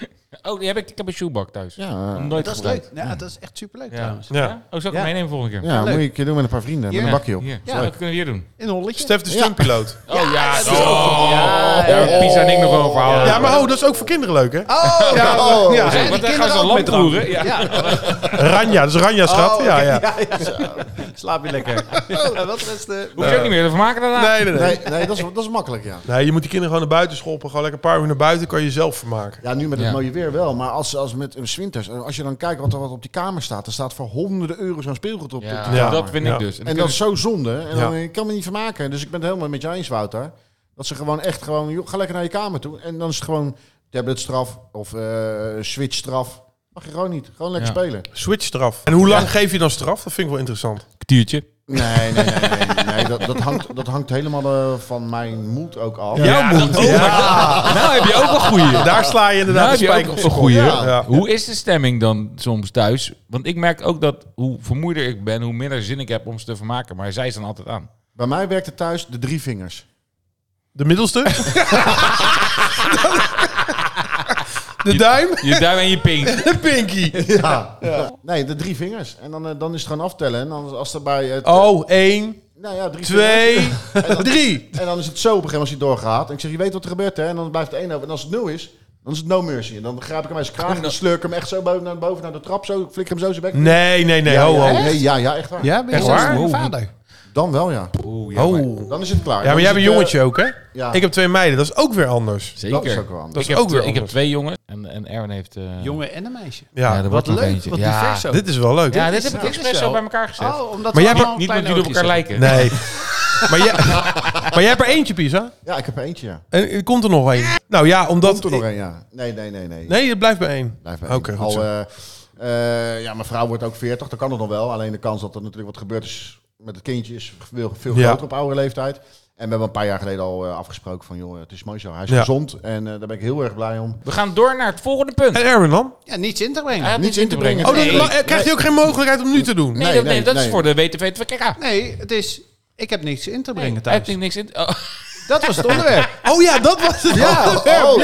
Speaker 4: Oh, die heb ik, ik heb een shoebak thuis.
Speaker 5: Ja, eh,
Speaker 4: Nooit
Speaker 2: dat is
Speaker 4: gebruikt.
Speaker 2: leuk. Ja, dat is echt superleuk
Speaker 4: Ja.
Speaker 2: trouwens.
Speaker 3: Ja.
Speaker 4: Oh, zal ik
Speaker 2: Ja.
Speaker 4: hem meenemen volgende keer?
Speaker 5: ja
Speaker 2: leuk.
Speaker 5: moet je een keer doen met een paar vrienden,
Speaker 2: Hier.
Speaker 5: met een bakje op.
Speaker 4: Hier.
Speaker 2: Ja.
Speaker 4: Ja, dat kunnen we hier doen.
Speaker 2: In een holletje.
Speaker 3: Stef de stuntpiloot.
Speaker 4: Oh ja,
Speaker 2: is ook- ja,
Speaker 4: ja, ja. Pisa en ik nog wel een verhaal.
Speaker 3: Ja. maar oh, dat is ook voor kinderen leuk, hè?
Speaker 2: Oh, ja,
Speaker 5: Oh.
Speaker 2: ja.
Speaker 4: Zeg,
Speaker 2: Die
Speaker 4: want dan gaan
Speaker 2: kinderen
Speaker 4: ze
Speaker 2: ook
Speaker 4: land
Speaker 2: met drank.
Speaker 4: roeren. Ja.
Speaker 3: Ranja, dat is Ranja's
Speaker 2: Oh,
Speaker 3: schat. Ja,
Speaker 2: oké.
Speaker 3: ja.
Speaker 2: ja. Slaap je lekker. Ja, wat is de...
Speaker 4: Hoef je ook niet meer te vermaken daarna.
Speaker 3: Nee, nee, nee.
Speaker 5: Nee, nee dat, is, dat is makkelijk, ja.
Speaker 3: Nee, je moet die kinderen gewoon naar buiten schoppen. Gewoon lekker een paar uur naar buiten, kan je zelf vermaken.
Speaker 5: Ja, nu met het
Speaker 4: Ja.
Speaker 5: mooie weer wel, maar als, als met een winters, als je dan kijkt wat er wat op die kamer staat, er staat voor honderden euro's aan speelgoed op, op
Speaker 4: Ja,
Speaker 5: die kamer.
Speaker 4: dat vind ik
Speaker 3: Ja.
Speaker 4: dus. En,
Speaker 5: En dat is zo zonde. En dan,
Speaker 3: Ja.
Speaker 5: ik kan me niet vermaken. Dus ik ben het helemaal met je eens, Wouter. Dat ze gewoon echt gewoon... Joh, ga lekker naar je kamer toe. En dan is het gewoon tabletstraf of eh, switchstraf. Mag je gewoon niet. Gewoon lekker
Speaker 4: Ja.
Speaker 5: spelen.
Speaker 3: Switch straf. En hoe lang geef je dan straf? Dat vind ik wel interessant.
Speaker 4: kwartiertje.
Speaker 5: Nee, nee, nee. nee, nee. Dat, dat, hangt, dat hangt helemaal eh, van mijn moed ook af.
Speaker 3: Ja. Jouw
Speaker 4: dat- oh, maar- Nou heb je ook wel goeie.
Speaker 3: Daar sla je
Speaker 4: Nou,
Speaker 3: inderdaad
Speaker 4: heb
Speaker 3: de
Speaker 4: je
Speaker 3: spijker
Speaker 4: ook
Speaker 3: op
Speaker 4: een
Speaker 3: zijn kop.
Speaker 4: goeie.
Speaker 5: Ja.
Speaker 3: Ja.
Speaker 4: Hoe is de stemming dan soms thuis? Want ik merk ook dat hoe vermoeider ik ben, hoe minder zin ik heb om ze te vermaken. Maar zij zijn altijd aan.
Speaker 5: Bij mij werkte thuis de drie vingers.
Speaker 3: De middelste? de duim?
Speaker 4: Je duim en je pink.
Speaker 3: De pinky.
Speaker 5: Ja. Nee, de drie vingers. En dan, eh, dan is het gewoon aftellen. En dan, als er bij... Het,
Speaker 3: Oh, één,
Speaker 5: nou ja, drie vingers.
Speaker 3: twee,
Speaker 5: En dan-
Speaker 3: drie.
Speaker 5: En dan is het zo op een gegeven moment als hij doorgaat. En ik zeg, je weet wat er gebeurt hè. En dan blijft er één over. En als het nul is, Dan is het no mercy. En dan grijp ik hem bij zijn kraag en dan sleur ik hem echt zo boven naar boven naar de trap. Zo, ik flikker hem zo zijn bek.
Speaker 3: Nee, nee, nee.
Speaker 5: ja,
Speaker 3: ho,
Speaker 5: ja,
Speaker 3: ho.
Speaker 5: nee, ja, ja, echt waar.
Speaker 2: Ja, ben je
Speaker 3: Echt
Speaker 2: zelfs
Speaker 3: waar?
Speaker 2: mijn
Speaker 4: Wow.
Speaker 2: vader?
Speaker 5: Dan wel, ja.
Speaker 4: Oeh, ja, maar-
Speaker 3: Oh.
Speaker 5: Dan is het klaar.
Speaker 3: Ja, maar
Speaker 5: Dan
Speaker 3: jij
Speaker 5: is
Speaker 3: bent
Speaker 5: het,
Speaker 3: jongetje ook, hè?
Speaker 5: eh, ja,
Speaker 3: Ik heb twee meiden, dat is ook weer anders.
Speaker 4: Zeker.
Speaker 5: dat is ook wel anders.
Speaker 3: Dat
Speaker 4: ik
Speaker 3: is
Speaker 4: heb,
Speaker 3: ook
Speaker 4: twee-
Speaker 3: weer
Speaker 4: ik heb
Speaker 3: anders.
Speaker 4: twee jongens en, en Erwin heeft... eh
Speaker 2: Jongen en een meisje.
Speaker 3: Ja,
Speaker 4: ja, er
Speaker 2: Wat
Speaker 4: wordt nog
Speaker 2: leuk,
Speaker 4: eentje.
Speaker 2: wat
Speaker 4: ja.
Speaker 2: divers ook.
Speaker 3: dit is wel leuk.
Speaker 4: Ja, dit heb
Speaker 2: Ja,
Speaker 4: ik
Speaker 2: dit is
Speaker 4: expres
Speaker 2: wel.
Speaker 4: zo bij elkaar gezet.
Speaker 2: Oh, omdat
Speaker 3: Maar
Speaker 2: we
Speaker 3: jij hebt
Speaker 2: allemaal
Speaker 4: Niet omdat
Speaker 2: kleine
Speaker 4: jullie op elkaar
Speaker 2: oogjes hebben.
Speaker 4: lijken.
Speaker 3: Nee. maar, jij, maar jij hebt er eentje, Pisa.
Speaker 5: Ja, ik heb er eentje, ja.
Speaker 3: En er komt er nog één. Nou ja, omdat...
Speaker 5: Komt er nog een, ja. Nee, nee, nee, nee.
Speaker 3: Nee, het blijft bij één.
Speaker 5: Blijf bij
Speaker 3: Oké,
Speaker 5: één.
Speaker 3: goed
Speaker 5: Al,
Speaker 3: zo.
Speaker 5: eh, eh, ja, mijn vrouw wordt ook 40, dan kan het nog wel. Alleen de kans dat er natuurlijk wat gebeurd is met het kindje is veel, veel
Speaker 3: Ja.
Speaker 5: groter op oudere leeftijd. En we hebben een paar jaar geleden al eh, afgesproken van, joh, het is mooi zo. Hij is
Speaker 3: Ja.
Speaker 5: gezond en eh, daar ben ik heel erg blij om.
Speaker 4: We gaan door naar het volgende punt.
Speaker 3: En Erwin dan?
Speaker 2: Ja, niets in te
Speaker 4: Hij
Speaker 2: brengen.
Speaker 4: had
Speaker 5: niets
Speaker 4: iets
Speaker 5: in te brengen.
Speaker 3: Oh, dan
Speaker 2: Nee.
Speaker 3: ma- eh, krijgt hij ook geen mogelijkheid om nu te doen.
Speaker 4: Nee,
Speaker 5: Nee,
Speaker 4: dat,
Speaker 5: nee,
Speaker 4: nee, dat
Speaker 5: nee.
Speaker 4: is voor de WTV 2KK.
Speaker 2: Nee, het is... Ik heb niks in te brengen
Speaker 4: Ah, Hij
Speaker 2: thuis.
Speaker 4: heeft niks in... Oh,
Speaker 2: Dat was het onderwerp.
Speaker 3: Oh ja, dat was het.
Speaker 5: Ja, oh,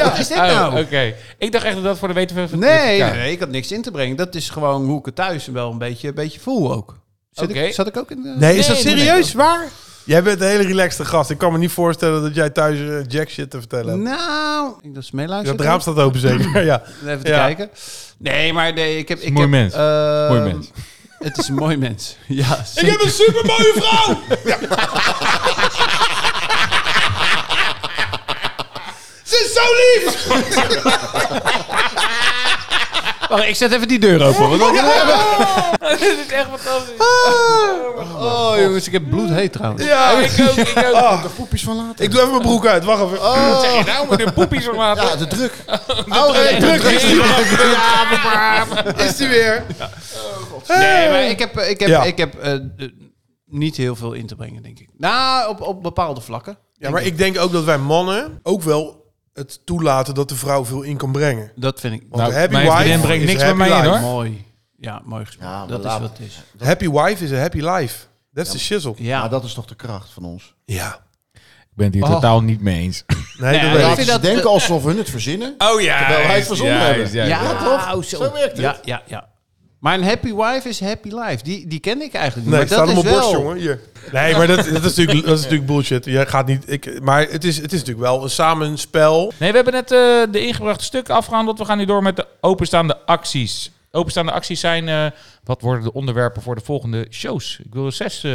Speaker 2: Wat is dit
Speaker 4: oh,
Speaker 2: nou?
Speaker 4: oké. Ik dacht echt dat dat voor de WTV 2KK...
Speaker 2: Nee, nee, nee, ik had niks in te brengen. Dat is gewoon hoe ik het thuis wel een beetje, een beetje voel ook. Zit
Speaker 4: Oké.
Speaker 2: ik, zat ik ook in de...
Speaker 3: Nee, is
Speaker 4: Nee,
Speaker 3: dat
Speaker 4: nee,
Speaker 3: serieus? Waar? Jij bent een hele relaxte gast. Ik kan me niet voorstellen dat jij thuis eh, jack shit te vertellen hebt.
Speaker 2: Nou, ik denk dat ze
Speaker 3: Ja,
Speaker 2: meeluisteren.
Speaker 3: het raam staat open zeker. ja.
Speaker 2: Even te
Speaker 3: Ja.
Speaker 2: kijken. Nee, maar nee, ik heb... Ik
Speaker 4: mooi
Speaker 2: heb,
Speaker 4: mens.
Speaker 2: eh,
Speaker 4: Mooi mens.
Speaker 2: Het is een mooi mens. Ja, zeker.
Speaker 4: een supermooie vrouw!
Speaker 3: Ze is zo lief!
Speaker 2: Wacht, ik zet even die deur open. want dan-
Speaker 4: Dit is echt fantastisch.
Speaker 3: Ah.
Speaker 2: Oh, jongens, ik heb bloedheet trouwens.
Speaker 4: Oh,
Speaker 3: Ja.
Speaker 4: ik ook, ik ook.
Speaker 5: de poepjes van later.
Speaker 3: Ik doe even mijn broek uit. Wacht even.
Speaker 4: Wat zeg je nou met de poepies van later?
Speaker 5: Ja, de druk.
Speaker 3: Oh, nee, druk is die
Speaker 4: Ah,
Speaker 3: Is die weer?
Speaker 2: Nee, maar ik heb, eh, ik heb,
Speaker 3: Ja.
Speaker 2: ik heb eh, eh, niet heel veel in te brengen, denk ik. Nou, op, op bepaalde vlakken.
Speaker 3: Ja, maar ik denk ook dat wij mannen ook wel het toelaten dat de vrouw veel in kan brengen.
Speaker 2: Dat vind ik
Speaker 3: Want
Speaker 4: Nou,
Speaker 3: een happy
Speaker 4: mijn
Speaker 3: wife
Speaker 4: vriendin brengt
Speaker 3: is
Speaker 4: niks
Speaker 3: een
Speaker 4: met mij
Speaker 3: happy
Speaker 4: in,
Speaker 3: life.
Speaker 4: hoor.
Speaker 2: mooi. Ja, mooi gesprek.
Speaker 5: Ja, maar
Speaker 2: dat is
Speaker 5: laten
Speaker 2: wat
Speaker 5: we-
Speaker 2: het is.
Speaker 3: Happy wife is a happy life. That's the shizzle.
Speaker 2: Ja,
Speaker 5: Maar dat is toch de kracht van ons.
Speaker 3: Ja.
Speaker 4: Ik ben het hier
Speaker 2: Oh.
Speaker 4: totaal niet mee eens.
Speaker 3: Nee,
Speaker 2: Nee,
Speaker 3: dat
Speaker 2: ja,
Speaker 3: weet
Speaker 5: Laten
Speaker 3: ik.
Speaker 2: vind
Speaker 5: ze
Speaker 2: dat-
Speaker 5: denken alsof hun het verzinnen.
Speaker 4: Oh ja.
Speaker 5: Terwijl hij het verzonnen hebben.
Speaker 2: ja,
Speaker 5: toch?
Speaker 2: oh,
Speaker 5: Zo werkt het.
Speaker 2: Ja, ja, ja. Maar een happy wife is happy life. Die, die ken ik eigenlijk niet.
Speaker 3: Nee,
Speaker 2: maar
Speaker 3: het staat
Speaker 2: dat
Speaker 3: op
Speaker 2: is
Speaker 3: mijn borst,
Speaker 2: wel...
Speaker 3: jongen. Hier. Nee, maar dat, dat, is natuurlijk, dat is natuurlijk bullshit. Je gaat niet, ik, maar het is, het is natuurlijk wel een samenspel.
Speaker 4: Nee, we hebben net eh, de ingebrachte stukken afgehandeld. We gaan nu door met de openstaande acties. Openstaande acties zijn... eh, wat worden de onderwerpen voor de volgende shows? Ik wil zes eh,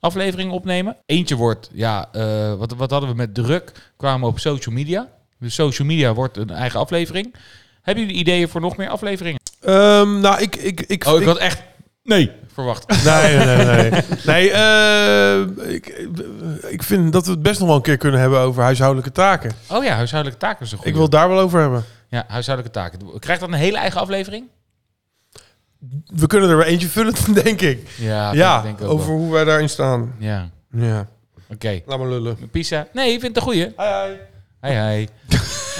Speaker 4: afleveringen opnemen. Eentje wordt... Ja, eh, wat, wat hadden we met druk? Kwamen we op social media. Dus social media wordt een eigen aflevering. Hebben jullie ideeën voor nog meer afleveringen?
Speaker 3: Ehm, nou, ik... ik, ik,
Speaker 4: Oh, ik
Speaker 3: ik-
Speaker 4: had echt... Nee. Verwacht.
Speaker 3: Nee, nee, nee. Nee, nee eh, ik, ik vind dat we het best nog wel een keer kunnen hebben over huishoudelijke taken.
Speaker 4: Oh ja, huishoudelijke taken is een goede.
Speaker 3: Ik wil het daar wel over hebben.
Speaker 4: Ja, huishoudelijke taken. Krijgt dat een hele eigen aflevering?
Speaker 3: We kunnen er weer eentje vullen, denk ik.
Speaker 4: Ja,
Speaker 3: ja,
Speaker 4: denk ik ook
Speaker 3: over
Speaker 4: wel.
Speaker 3: hoe wij daarin staan.
Speaker 4: Ja,
Speaker 3: Ja,
Speaker 4: oké.
Speaker 3: laat maar lullen.
Speaker 4: Pisa. Nee, ik vind het een goeie.
Speaker 3: Hi, hi.
Speaker 4: Hi, hi.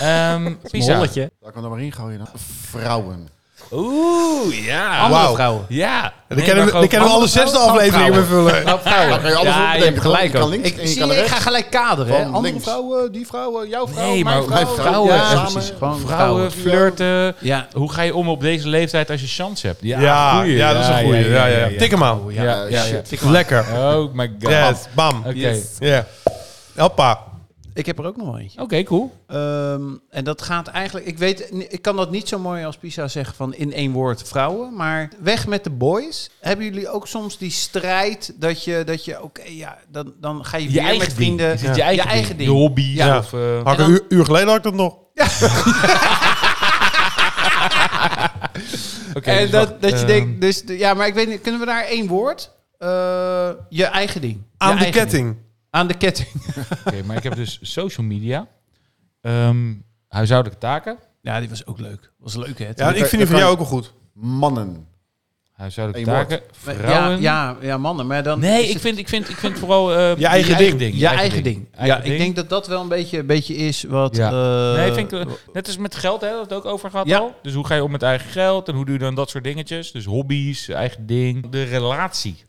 Speaker 4: Ehm Pisa.
Speaker 5: Laat ik hem er maar in gooien. dan. Vrouwen.
Speaker 4: Oeh, ja.
Speaker 2: Andere
Speaker 3: Wauw.
Speaker 2: vrouwen.
Speaker 4: Ja.
Speaker 3: Dan kennen we, dan kennen we alle zesde afleveringen mee vullen.
Speaker 5: Daar kan je alles
Speaker 4: Ja,
Speaker 5: op
Speaker 4: je
Speaker 5: bedenken,
Speaker 4: hebt
Speaker 5: toch?
Speaker 4: gelijk
Speaker 5: Je kan
Speaker 4: ook.
Speaker 5: links
Speaker 2: Ik,
Speaker 5: en je
Speaker 2: zie
Speaker 5: kan
Speaker 2: je, ik
Speaker 5: rechts.
Speaker 2: ga gelijk kaderen. hè.
Speaker 5: Van
Speaker 2: Andere
Speaker 5: links.
Speaker 2: vrouwen, die vrouwen, jouw
Speaker 4: vrouwen, Nee, mijn maar vrouwen.
Speaker 5: vrouwen, vrouwen,
Speaker 2: Ja,
Speaker 5: samen.
Speaker 2: precies. Gewoon vrouwen.
Speaker 4: Vrouwen, flirten.
Speaker 2: Ja,
Speaker 4: Hoe ga je om op deze leeftijd als je chance hebt?
Speaker 3: Ja, ja,
Speaker 4: goeie.
Speaker 3: dat is een goeie. Ja, ja, ja. Tik hem aan.
Speaker 4: Ja, ja, ja.
Speaker 5: shit.
Speaker 3: Lekker.
Speaker 4: Oh my god.
Speaker 3: Yes, bam.
Speaker 4: Oké,
Speaker 3: Ja.
Speaker 2: Yes.
Speaker 3: Hoppa.
Speaker 2: ik heb er ook nog wel eentje.
Speaker 4: Oké, cool.
Speaker 2: Ehm, en dat gaat eigenlijk... Ik weet, ik kan dat niet zo mooi als Pisa zeggen van in één woord vrouwen. Maar weg met de boys. Hebben jullie ook soms die strijd dat je... Dat je Oké, ja, dan, dan ga je,
Speaker 4: Je
Speaker 2: weer
Speaker 4: eigen
Speaker 2: met
Speaker 4: ding.
Speaker 2: vrienden...
Speaker 4: Is het je eigen ding?
Speaker 2: ding.
Speaker 4: Je hobby.
Speaker 3: Ja.
Speaker 4: Of, eh,
Speaker 3: Had ik een uur, uur geleden had ik dat nog.
Speaker 4: oké,
Speaker 2: en
Speaker 4: dus
Speaker 2: dat,
Speaker 4: wacht.
Speaker 2: dat je
Speaker 4: Ehm,
Speaker 2: denkt... Dus, de- ja, maar ik weet niet... Kunnen we daar één woord? Eh, je eigen ding. Je
Speaker 3: Aan de
Speaker 2: eigen ding.
Speaker 3: ketting.
Speaker 2: Aan de ketting.
Speaker 4: Oké, maar ik heb dus social media. ehm, huishoudelijke taken.
Speaker 2: Ja, die was ook leuk. Was leuk, hè?
Speaker 3: Ja, ik vind die van jou ook wel goed.
Speaker 5: Mannen.
Speaker 4: Huishoudelijke
Speaker 5: Eén woord.
Speaker 4: taken.
Speaker 2: Maar
Speaker 4: Vrouwen.
Speaker 2: Ja, ja, ja, mannen, maar dan...
Speaker 4: Nee,
Speaker 2: is
Speaker 4: ik
Speaker 2: het
Speaker 4: vind, ik vind, ik vind vooral... eh, je
Speaker 3: eigen ding.
Speaker 4: Je
Speaker 2: je eigen ding.
Speaker 4: Eigen
Speaker 2: ja, ik denk dat dat wel een beetje, een beetje is wat...
Speaker 4: Ja.
Speaker 2: eh,
Speaker 4: nee, vind ik, eh, net als met geld, hè, dat het ook over gaat
Speaker 2: Ja.
Speaker 4: al. Dus hoe ga je om met eigen geld en hoe doe je dan dat soort dingetjes? Dus hobby's, eigen ding, de relatie.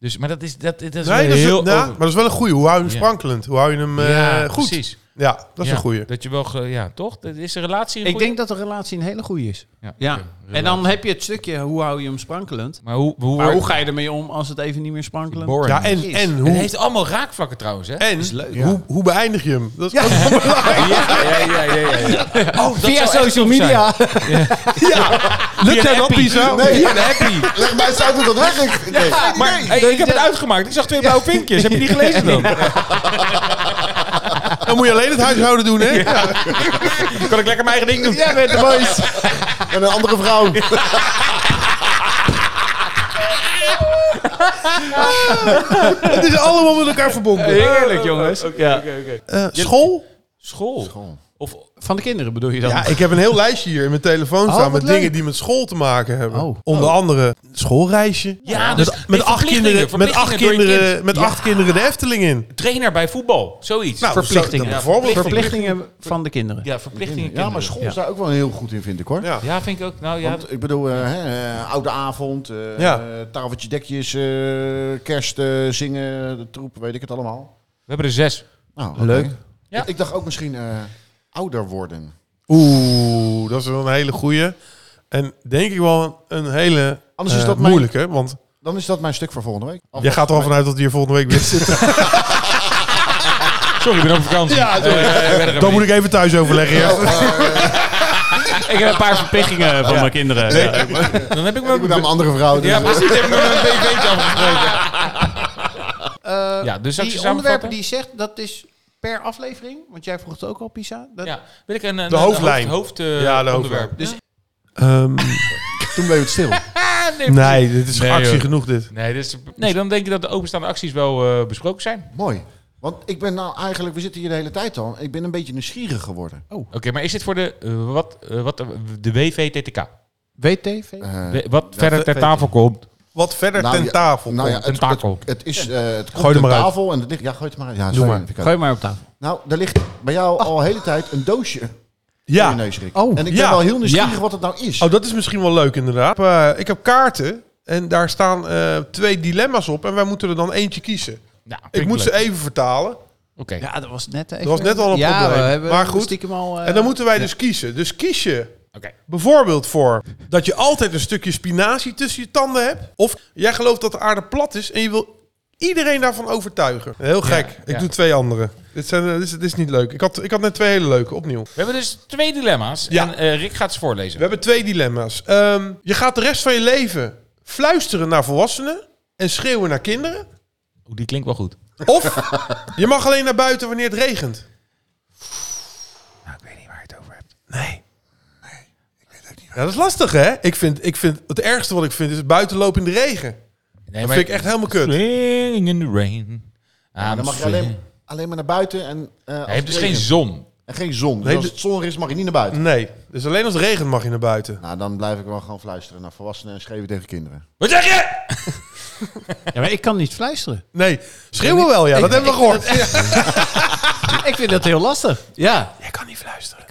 Speaker 4: Dus, maar dat is, dat, dat is
Speaker 3: Nee,
Speaker 4: weer
Speaker 3: dat is,
Speaker 4: heel...
Speaker 3: ja,
Speaker 4: over-
Speaker 3: maar dat is wel een goeie. Hoe hou je hem
Speaker 4: Ja.
Speaker 3: sprankelend? Hoe hou je hem eh,
Speaker 4: Ja,
Speaker 3: goed?
Speaker 4: precies.
Speaker 3: Ja, dat is
Speaker 4: Ja,
Speaker 3: een goeie.
Speaker 4: Dat je wel, ge- ja, toch? Dat Is de relatie een
Speaker 2: Ik
Speaker 4: goeie?
Speaker 2: denk dat de relatie een hele goede is.
Speaker 4: Ja.
Speaker 2: Ja.
Speaker 4: oké,
Speaker 2: en
Speaker 4: relatie.
Speaker 2: dan heb je het stukje, hoe hou je hem sprankelend?
Speaker 4: Maar hoe,
Speaker 2: Maar
Speaker 4: hoe, wordt-
Speaker 2: hoe ga je ermee om als het even niet meer sprankelend
Speaker 4: Boring.
Speaker 3: Ja, en,
Speaker 2: Jezus.
Speaker 3: en,
Speaker 4: Het
Speaker 3: hoe,
Speaker 4: heeft allemaal raakvlakken trouwens, hè?
Speaker 3: en
Speaker 2: leuk.
Speaker 3: hoe, hoe beëindig je hem? Dat is ook-
Speaker 4: Ja, ja, ja, ja. ja, ja.
Speaker 2: Oh,
Speaker 4: via zou echt social top media.
Speaker 3: Lukt dat dan, Pisa?
Speaker 4: Nee, ik ben happy.
Speaker 5: Leg mij eens uit hoe dat werkt. Nee.
Speaker 4: Maar hey, ik heb het uitgemaakt. Ik zag twee blauwe vinkjes. Heb je die gelezen dan?
Speaker 3: Dan moet je alleen het huishouden doen, hè?
Speaker 4: Dan kan ik lekker mijn eigen ding doen.
Speaker 5: Jij bent de boys. En een andere vrouw.
Speaker 3: Het is allemaal met elkaar verbonden.
Speaker 4: Heerlijk, jongens. ja.
Speaker 3: Eh, school?
Speaker 4: School. Of,
Speaker 2: Van de kinderen bedoel je dan?
Speaker 3: Ja, ik heb een heel lijstje hier in mijn
Speaker 5: Oh,
Speaker 3: telefoon staan
Speaker 2: wat
Speaker 3: met
Speaker 2: leuk.
Speaker 3: dingen die met school te maken hebben.
Speaker 2: Oh.
Speaker 3: Onder andere schoolreisje.
Speaker 4: ja, dus
Speaker 3: met met, acht, kinderen, met, acht, kinderen, met acht kinderen de Efteling in.
Speaker 4: Trainer bij voetbal. Zoiets.
Speaker 3: Nou,
Speaker 4: verplichtingen.
Speaker 3: zo- bijvoorbeeld.
Speaker 2: Verplichtingen van de kinderen.
Speaker 4: Ja, verplichtingen.
Speaker 5: Ja, maar school is daar ook wel heel goed in, vind ik hoor.
Speaker 3: Ja.
Speaker 4: Ja, vind ik ook. Nou ja,
Speaker 5: Want ik bedoel, eh, hè, eh, oude avond, eh,
Speaker 3: Ja.
Speaker 5: eh, tafeltje dekjes, eh, kerst, eh, zingen, de troep, weet ik het allemaal.
Speaker 4: we hebben er zes.
Speaker 5: Nou, oké.
Speaker 2: Leuk.
Speaker 4: Ja.
Speaker 5: Ik dacht ook misschien eh, ouder worden.
Speaker 3: Oeh, dat is wel een hele goeie. En denk ik wel een hele
Speaker 5: Anders is
Speaker 3: eh,
Speaker 5: dat mijn-
Speaker 3: moeilijke. Want
Speaker 5: Dan is dat mijn stuk voor volgende week. Of-
Speaker 3: jij gaat er al vanuit dat we hier volgende week weer zitten.
Speaker 4: Sorry, ik ben op vakantie.
Speaker 2: Eh,
Speaker 4: Ja,
Speaker 3: Dan moet ik even thuis overleggen. Ja.
Speaker 2: Ik heb een paar verplichtingen van mijn kinderen.
Speaker 4: Dan heb ik
Speaker 5: Ik moet naar
Speaker 4: me...
Speaker 5: mijn andere vrouw. Dus,
Speaker 4: Ja,
Speaker 5: ja,
Speaker 4: precies. Heb ik me mijn BV'tje afgesproken. Ja, dus zou ik ze
Speaker 2: Eh, die onderwerpen
Speaker 4: samenvatten?
Speaker 2: die je zegt, dat is per aflevering. Want jij vroeg het ook al, Pisa. Dat,
Speaker 4: Ja, wil ik een, een-
Speaker 3: De
Speaker 4: een
Speaker 3: hoofdlijn.
Speaker 4: Hoofd, hoofd, eh,
Speaker 3: Ja, de
Speaker 4: onderwerp.
Speaker 3: hoofdlijn.
Speaker 4: Dus,
Speaker 3: Ehm,
Speaker 5: Toen bleef het stil.
Speaker 3: nee, dit is
Speaker 4: Nee,
Speaker 3: actie
Speaker 4: joh.
Speaker 3: genoeg dit.
Speaker 4: nee, dus, nee, dan denk ik dat de openstaande acties wel eh, besproken zijn.
Speaker 5: Mooi. Want ik ben nou eigenlijk, we zitten hier de hele tijd al. Ik ben een beetje nieuwsgierig geworden.
Speaker 4: Oké, maar is dit voor de, eh, wat, eh, wat, eh, de WVTTK?
Speaker 2: WTV?
Speaker 5: Eh,
Speaker 4: De- wat verder ter tafel komt.
Speaker 3: Wat verder
Speaker 5: Nou,
Speaker 3: ten
Speaker 5: ja-
Speaker 3: tafel.
Speaker 5: nou ja,
Speaker 4: Een
Speaker 5: het, het,
Speaker 4: takel.
Speaker 5: het is, eh het
Speaker 3: Gooi
Speaker 5: komt
Speaker 3: er
Speaker 5: op
Speaker 3: maar uit.
Speaker 5: tafel en het ligt, ja, gooi het maar uit. Ja,
Speaker 3: Doe
Speaker 5: sorry,
Speaker 3: maar.
Speaker 5: vind ik ook.
Speaker 2: Gooi maar op tafel.
Speaker 5: Nou, er ligt bij jou al de hele tijd een doosje
Speaker 3: ja.
Speaker 5: in je neus, Rick.
Speaker 2: Oh,
Speaker 5: en ik ben
Speaker 3: ja.
Speaker 5: wel heel nieuwsgierig
Speaker 2: Ja.
Speaker 5: wat het nou is.
Speaker 3: Oh, dat is misschien wel leuk inderdaad. Eh, ik heb kaarten en daar staan eh, twee dilemma's op en wij moeten er dan eentje kiezen.
Speaker 4: Nou, vind
Speaker 3: Ik moet ze
Speaker 4: leuk.
Speaker 3: even vertalen
Speaker 4: Oké.
Speaker 2: Ja, dat was net even...
Speaker 3: Dat was net al een
Speaker 2: ja,
Speaker 3: probleem.
Speaker 2: we hebben
Speaker 3: Maar goed.
Speaker 2: stiekem al... eh,
Speaker 3: en dan moeten wij dus kiezen. Dus kies je
Speaker 4: Oké.
Speaker 3: bijvoorbeeld voor dat je altijd een stukje spinazie tussen je tanden hebt. Of jij gelooft dat de aarde plat is en je wil iedereen daarvan overtuigen. Heel gek. ik
Speaker 4: ja.
Speaker 3: doe twee andere. Dit, zijn, eh, dit, is, dit is niet leuk. Ik had, ik had net twee hele leuke, opnieuw.
Speaker 4: We hebben dus twee dilemma's.
Speaker 3: Ja.
Speaker 4: En eh, Rick gaat ze
Speaker 3: We
Speaker 4: voorlezen.
Speaker 3: hebben twee dilemma's. Ehm, je gaat de rest van je leven fluisteren naar volwassenen en schreeuwen naar kinderen.
Speaker 4: Oeh, die klinkt wel goed.
Speaker 3: Of je mag alleen naar buiten wanneer het regent. Nou, ik weet niet waar je het over hebt. Nee. Ja, dat is lastig, hè? Ik vind, ik vind, het ergste wat ik vind is buiten lopen in de regen.
Speaker 4: Nee,
Speaker 3: Dat vind ik echt helemaal kut.
Speaker 4: Swing in the rain.
Speaker 5: Ja,
Speaker 4: Ah,
Speaker 5: dan mag je alleen, alleen maar naar buiten en... eh, als
Speaker 4: Hij heeft dus
Speaker 5: het
Speaker 4: geen
Speaker 5: regent.
Speaker 4: zon.
Speaker 5: En geen zon. Dus
Speaker 3: Nee,
Speaker 5: als
Speaker 3: de-
Speaker 5: het zon er is, mag je niet naar buiten.
Speaker 3: Nee, dus alleen als het regent mag je naar buiten.
Speaker 5: Nou, dan blijf ik wel gewoon fluisteren naar volwassenen en schreeuwen tegen kinderen.
Speaker 4: Wat zeg je?
Speaker 2: Ja, maar ik kan niet fluisteren.
Speaker 3: Nee, schreeuwen wel, ja, dat hebben we gehoord.
Speaker 2: ik vind dat heel lastig. Ja. Jij kan niet fluisteren.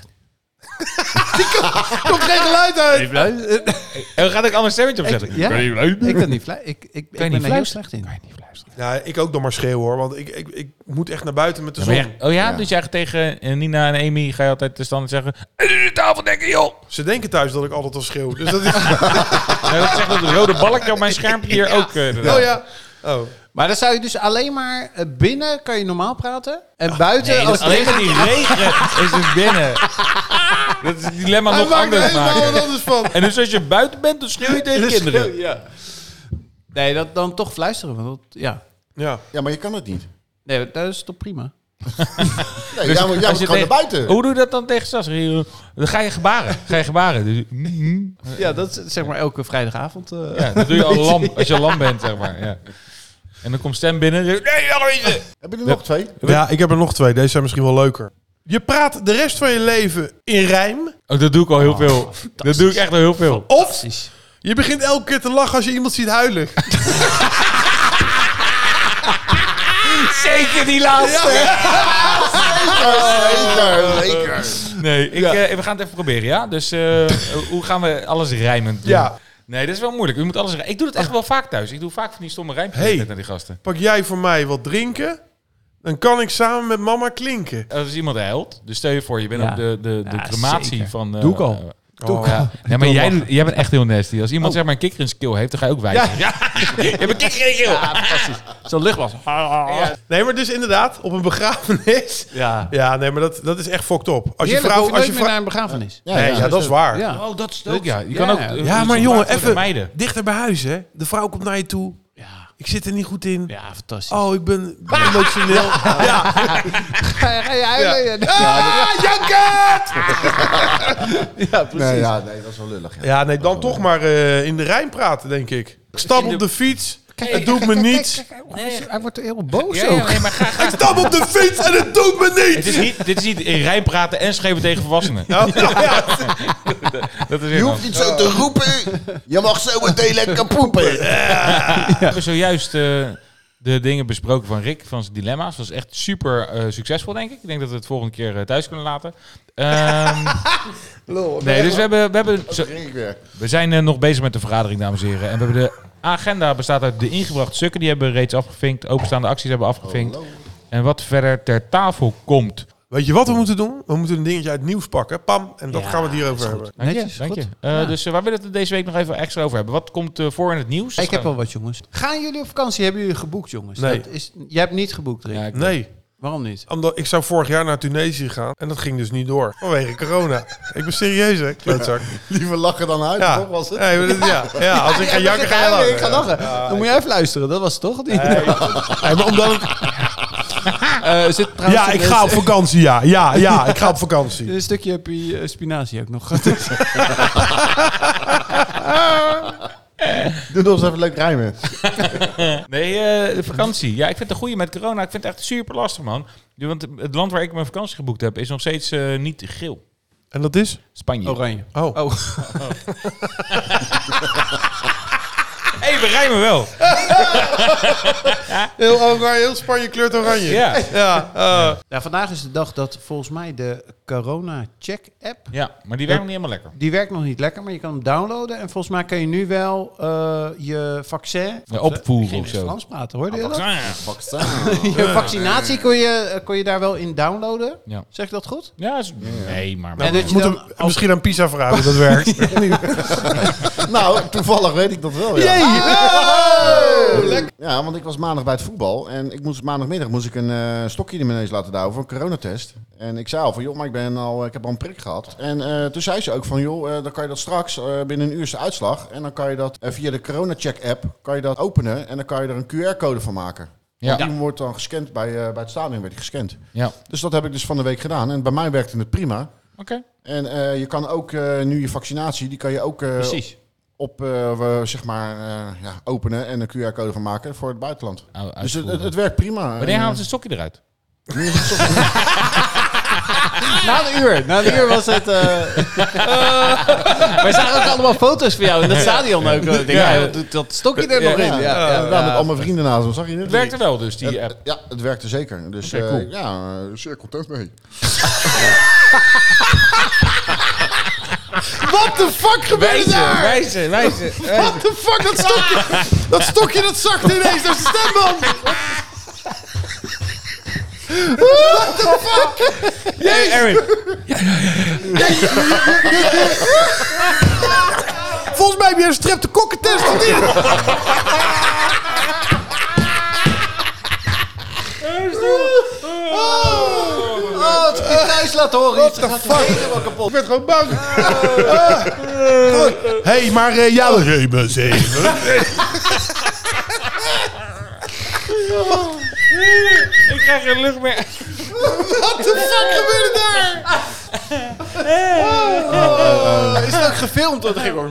Speaker 2: Komt geen geluid uit.
Speaker 4: En we gaan ook anders stemmetje opzetten.
Speaker 2: Ik- ja.
Speaker 4: Kan je
Speaker 2: Ik kan niet fluisteren. Ik, ik, ik ben
Speaker 4: niet
Speaker 2: er heel
Speaker 4: fluisteren?
Speaker 2: slecht in.
Speaker 3: Ja, ik ook nog maar schreeuwen hoor, want ik, ik, ik moet echt naar buiten met de
Speaker 4: Ja,
Speaker 3: zon.
Speaker 4: maar jij- oh ja?
Speaker 5: Ja.
Speaker 4: dus jij gaat tegen eh, Nina en Amy ga je altijd de standaard zeggen... En nu de tafel denken, joh!
Speaker 3: Ze denken thuis dat ik altijd al schreeuw. Dus dat is...
Speaker 4: Nou, dat zegt dat het rode balkje op mijn schermpje hier ook. eh, inderdaad.
Speaker 3: Oh ja. Oh.
Speaker 2: Maar dan zou je dus alleen maar eh, binnen kan je normaal praten. En buiten
Speaker 4: Oh, Nee, dat
Speaker 2: als
Speaker 4: is alleen maar die regen is dus binnen. Dat is het dilemma
Speaker 3: Hij
Speaker 4: nog
Speaker 3: maakt er
Speaker 4: anders
Speaker 3: helemaal wat
Speaker 4: maken.
Speaker 3: anders van.
Speaker 4: En dus als je buiten bent, dan schreeuw je tegen kinderen.
Speaker 2: Nee, dat, dan toch fluisteren. Want dat, ja.
Speaker 3: Ja.
Speaker 5: Ja, maar je kan het niet.
Speaker 2: Nee, dat is toch prima.
Speaker 5: Nee,
Speaker 3: Dus
Speaker 5: ja,
Speaker 4: Dus als
Speaker 5: maar, ja,
Speaker 4: je
Speaker 5: maar je kan naar
Speaker 4: tegen-
Speaker 5: buiten.
Speaker 4: Hoe doe je dat dan tegen Sas? Dan ga je gebaren. Ga je gebaren. Dus, mhm.
Speaker 2: Ja, dat is zeg maar elke vrijdagavond. eh.
Speaker 4: ja, dat doe je al lam, als je lam bent, zeg maar. Ja. En dan komt Stem binnen. en zegt, Nee, Aloyse!
Speaker 5: Hebben jullie nog twee?
Speaker 3: Ja, ik heb er nog twee. Deze zijn misschien wel leuker. Je praat de rest van je leven in rijm.
Speaker 4: Oh, dat doe ik al heel veel. Dat doe ik echt al heel veel.
Speaker 3: Of je begint elke keer te lachen als je iemand ziet huilen.
Speaker 4: Oh, Zeker die laatste.
Speaker 5: Zeker, zeker.
Speaker 4: Nee, ik, eh, we gaan het even proberen, ja? Dus eh, hoe gaan we alles rijmend doen?
Speaker 3: Ja.
Speaker 4: Nee, dat is wel moeilijk. U moet alles rij- Ik doe dat echt wel vaak thuis. Ik doe vaak van die stomme rijmpjes
Speaker 3: Hey.
Speaker 4: naar die gasten.
Speaker 3: Pak jij voor mij wat drinken? Dan kan ik samen met mama klinken.
Speaker 4: Als iemand huilt, dus stel je voor, je bent
Speaker 2: Ja.
Speaker 4: op de, de, de
Speaker 2: Ja,
Speaker 4: crematie
Speaker 2: zeker.
Speaker 4: van... eh,
Speaker 6: Doe ik al.
Speaker 4: eh,
Speaker 3: Oh,
Speaker 4: ja. Ja, maar
Speaker 6: ik
Speaker 4: jij,
Speaker 6: al.
Speaker 4: doet- jij bent echt heel nasty. Als iemand zeg maar een kikker in skill heeft, dan ga je ook wijzen. Ja. je hebt een kikker in skill.
Speaker 2: Zo'n luchtbas.
Speaker 3: Nee, maar dus inderdaad, op een begrafenis.
Speaker 2: Ja.
Speaker 3: Ja, nee, maar dat, dat is echt fucked op. Als je
Speaker 2: Heerlijk,
Speaker 3: vrouw.
Speaker 2: hoef je nooit
Speaker 3: als je
Speaker 2: meer
Speaker 3: vrou-
Speaker 2: naar een begrafenis.
Speaker 5: Ja,
Speaker 3: Nee, ja, dat is waar.
Speaker 2: Ja.
Speaker 4: Oh, dat is ook, ja. Je
Speaker 2: Ja.
Speaker 4: kan ook,
Speaker 2: Ja,
Speaker 4: eh,
Speaker 1: Ja,
Speaker 4: iets
Speaker 1: maar
Speaker 4: om
Speaker 1: jongen,
Speaker 4: later te
Speaker 1: even
Speaker 4: vermijden.
Speaker 1: dichter bij huis, hè. De vrouw komt naar je toe.
Speaker 2: Ja,
Speaker 1: Ik zit er niet goed in.
Speaker 2: ja fantastisch.
Speaker 1: Oh, ik ben
Speaker 3: Ah,
Speaker 1: emotioneel.
Speaker 2: Ga, ga je huilen?
Speaker 3: Ah, jankert!
Speaker 5: Nee, ja, nee, dat is wel lullig. Ja.
Speaker 3: Ja, nee, dan toch maar eh, in de Rijn praten, denk ik. Ik stap op de fiets. Het doet me niets.
Speaker 2: Hij wordt heel boos
Speaker 4: Ja, ja, nee, maar ga,
Speaker 3: Ik
Speaker 1: Ah,
Speaker 3: stap op de fiets en het doet me
Speaker 4: Het
Speaker 3: niets.
Speaker 4: is niet, dit is niet in rijm praten en schreeuwen tegen volwassenen.
Speaker 3: Oh, ja.
Speaker 4: Dat is heel
Speaker 5: niet zo te roepen. Je mag zo meteen lekker poepen.
Speaker 4: We hebben zojuist eh, de dingen besproken van Rick, van zijn dilemma's. Dat was echt super eh, succesvol, denk ik. Ik denk dat we het volgende keer eh, thuis kunnen laten. Ehm,
Speaker 5: Lol,
Speaker 4: nee, dus we, hebben, we, hebben, zo-
Speaker 5: Dat ging ik weer.
Speaker 4: we zijn eh, nog bezig met de vergadering, dames en heren. En we hebben de agenda bestaat uit de ingebrachte stukken. Die hebben we reeds afgevinkt. Openstaande acties hebben we afgevinkt. En wat verder ter tafel komt.
Speaker 3: Weet je wat we moeten doen? We moeten een dingetje uit het nieuws pakken. Pam, en dat gaan we het hierover hebben.
Speaker 4: Dank je,
Speaker 2: Netjes,
Speaker 4: dank je.
Speaker 2: goed.
Speaker 4: Eh,
Speaker 2: Ja.
Speaker 4: Dus eh, waar willen we het deze week nog even extra over hebben? Wat komt eh, voor in het nieuws?
Speaker 2: Ik heb wel wat, jongens. Gaan jullie op vakantie? Hebben jullie geboekt, jongens?
Speaker 3: Nee.
Speaker 2: Dat is, jij hebt niet geboekt, Rick.
Speaker 4: Ja, ik-
Speaker 3: Nee,
Speaker 2: Waarom niet?
Speaker 3: omdat ik zou vorig jaar naar Tunesië gaan en dat ging dus niet door. Vanwege corona. Ik ben serieus, hè? Klootzak.
Speaker 5: Liever lachen dan uit,
Speaker 3: Ja.
Speaker 5: toch? Was het?
Speaker 3: Nee, maar dat- ja. ja, als ik ga janken, ga je lachen.
Speaker 2: Ik ga lachen. Dan moet je even luisteren. Dat was het toch? Die...
Speaker 3: Nee, maar omdat het-
Speaker 2: Eh, zit trouwens
Speaker 3: Ja, ik
Speaker 2: een-
Speaker 3: ga op vakantie, ja. Ja, ja, ik ga op vakantie.
Speaker 2: Een stukje heb je eh, spinazie ook nog.
Speaker 5: Doe nog eens even leuk rijmen.
Speaker 4: Nee, eh, de vakantie. Ja, ik vind het een goede met corona. Ik vind het echt super lastig, man. Ja, Want het land waar ik mijn vakantie geboekt heb, is nog steeds eh, niet geel.
Speaker 3: En dat is?
Speaker 4: Spanje.
Speaker 2: Oranje.
Speaker 3: Oh.
Speaker 2: Oh.
Speaker 4: hey, we rijmen wel.
Speaker 3: Heel oranje, heel Spanje kleurt oranje.
Speaker 4: Ja.
Speaker 3: Ja, eh,
Speaker 2: Ja, vandaag is de dag dat volgens mij de Corona Check app...
Speaker 4: ja, maar die werkt nog niet helemaal lekker.
Speaker 2: Die werkt nog niet lekker, maar je kan hem downloaden. En volgens mij kan je nu wel eh, je vaccin...
Speaker 4: Ja, opvoeren
Speaker 2: Geen
Speaker 4: of zo.
Speaker 2: Frans praten, hoor.
Speaker 4: Ja,
Speaker 2: Je vaccinatie kon je, eh, kon je daar wel in downloaden.
Speaker 4: Ja.
Speaker 2: Zeg ik dat goed?
Speaker 4: ja is- nee, maar...
Speaker 2: En dat je
Speaker 3: moeten
Speaker 2: dan
Speaker 3: we misschien aan Pisa vragen hoe dat werkt.
Speaker 5: Nou, toevallig weet ik dat wel. Ja.
Speaker 2: Oh,
Speaker 5: Ehm, ja, want ik was maandag bij het voetbal en ik moest, maandagmiddag moest ik een eh, stokje in mijn neus laten douwen voor een coronatest. En ik zei al van, joh, maar ik, ben al, eh, ik heb al een prik gehad. En eh, toen zei ze ook van, joh, eh, dan kan je dat straks eh, binnen een uurse uitslag. En dan kan je dat eh, via de coronacheck-app kan je dat openen en dan kan je er een QR-code van maken.
Speaker 4: Ja.
Speaker 5: Die wordt dan gescand bij, eh, bij het stadion, werd die gescand.
Speaker 4: Ja, oké.
Speaker 5: Dus dat heb ik dus van de week gedaan en bij mij werkte het prima. En eh, je kan ook eh, nu je vaccinatie, die kan je ook eh,
Speaker 2: Precies.
Speaker 5: op, eh, we, zeg maar, eh, ja, openen en een QR-code van maken voor het buitenland.
Speaker 4: Ou-
Speaker 5: Dus het,
Speaker 4: uitvoeren.
Speaker 5: het, het werkt prima.
Speaker 4: Wanneer
Speaker 5: En,
Speaker 4: halen ze het stokje eruit?
Speaker 5: eh, nu is het toch-
Speaker 2: Na een uur. Na een uur was het... eh, Wij zagen ook allemaal foto's van jou in dat stadion ook. Ik denk,
Speaker 4: Ja.
Speaker 2: ja, dat- dat stokje er nog in. Ja, nou, ja.
Speaker 5: ja, daar met al mijn vrienden naast me, zag je het?
Speaker 4: Het werkte wel dus, die
Speaker 5: Het-
Speaker 4: app.
Speaker 5: Ja, het werkte zeker. Dus eh, ja, eh, zeer content mee. What the fuck gebeurde daar?
Speaker 4: wijzen, wijzen.
Speaker 5: What the fuck, dat stokje, dat stokje dat zakte ineens naar zijn stemband. What the fuck?
Speaker 4: Hey, Eric.
Speaker 3: Volgens mij heb je een streptokokkentest of niet?
Speaker 2: Oh, het is thuis laten horen. dus What the
Speaker 3: Ik werd gewoon bang. Hé, hey, maar eh, ja, we geven zeven.
Speaker 4: Ik krijg geen lucht meer.
Speaker 2: fuck gebeurde daar? is dat ook gefilmd? Dat ging hoor.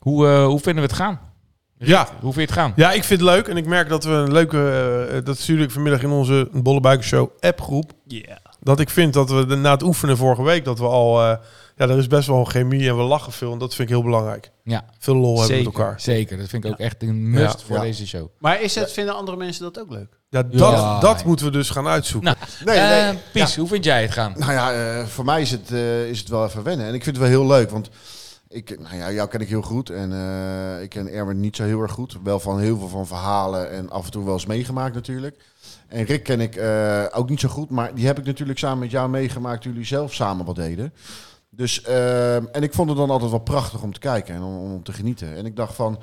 Speaker 4: Hoe, eh, hoe vinden we het gaan?
Speaker 3: Ja.
Speaker 4: Hoe vind je het gaan?
Speaker 3: ja, ik vind het leuk en ik merk dat we een leuke... eh, dat stuurde ik vanmiddag in onze Bolle Buikenshow appgroep. Dat ik vind dat we de- na het oefenen vorige week, dat we al... eh, ja, er is best wel chemie en we lachen veel en dat vind ik heel belangrijk.
Speaker 4: Ja,
Speaker 3: Veel lol hebben
Speaker 2: Zeker.
Speaker 3: met elkaar.
Speaker 4: zeker. Dat vind ik ook echt een must
Speaker 3: Ja.
Speaker 4: voor
Speaker 5: Ja.
Speaker 4: deze show.
Speaker 2: Maar is het, vinden andere mensen dat ook leuk?
Speaker 3: Ja, dat,
Speaker 4: Ja.
Speaker 3: dat moeten we dus gaan uitzoeken.
Speaker 4: Nou,
Speaker 5: Nee, nee.
Speaker 4: Eh, Pies, hoe vind jij het gaan?
Speaker 5: Nou ja, eh, voor mij is het, eh, is het wel even wennen. En ik vind het wel heel leuk, want Ik, nou ja, jou ken ik heel goed en eh, ik ken Erwin niet zo heel erg goed. Wel van heel veel van verhalen en af en toe wel eens meegemaakt natuurlijk. En Rick ken ik eh, ook niet zo goed, maar die heb ik natuurlijk samen met jou meegemaakt. Jullie zelf samen wat deden. Dus, eh, en ik vond het dan altijd wel prachtig om te kijken en om, om te genieten. En ik dacht van,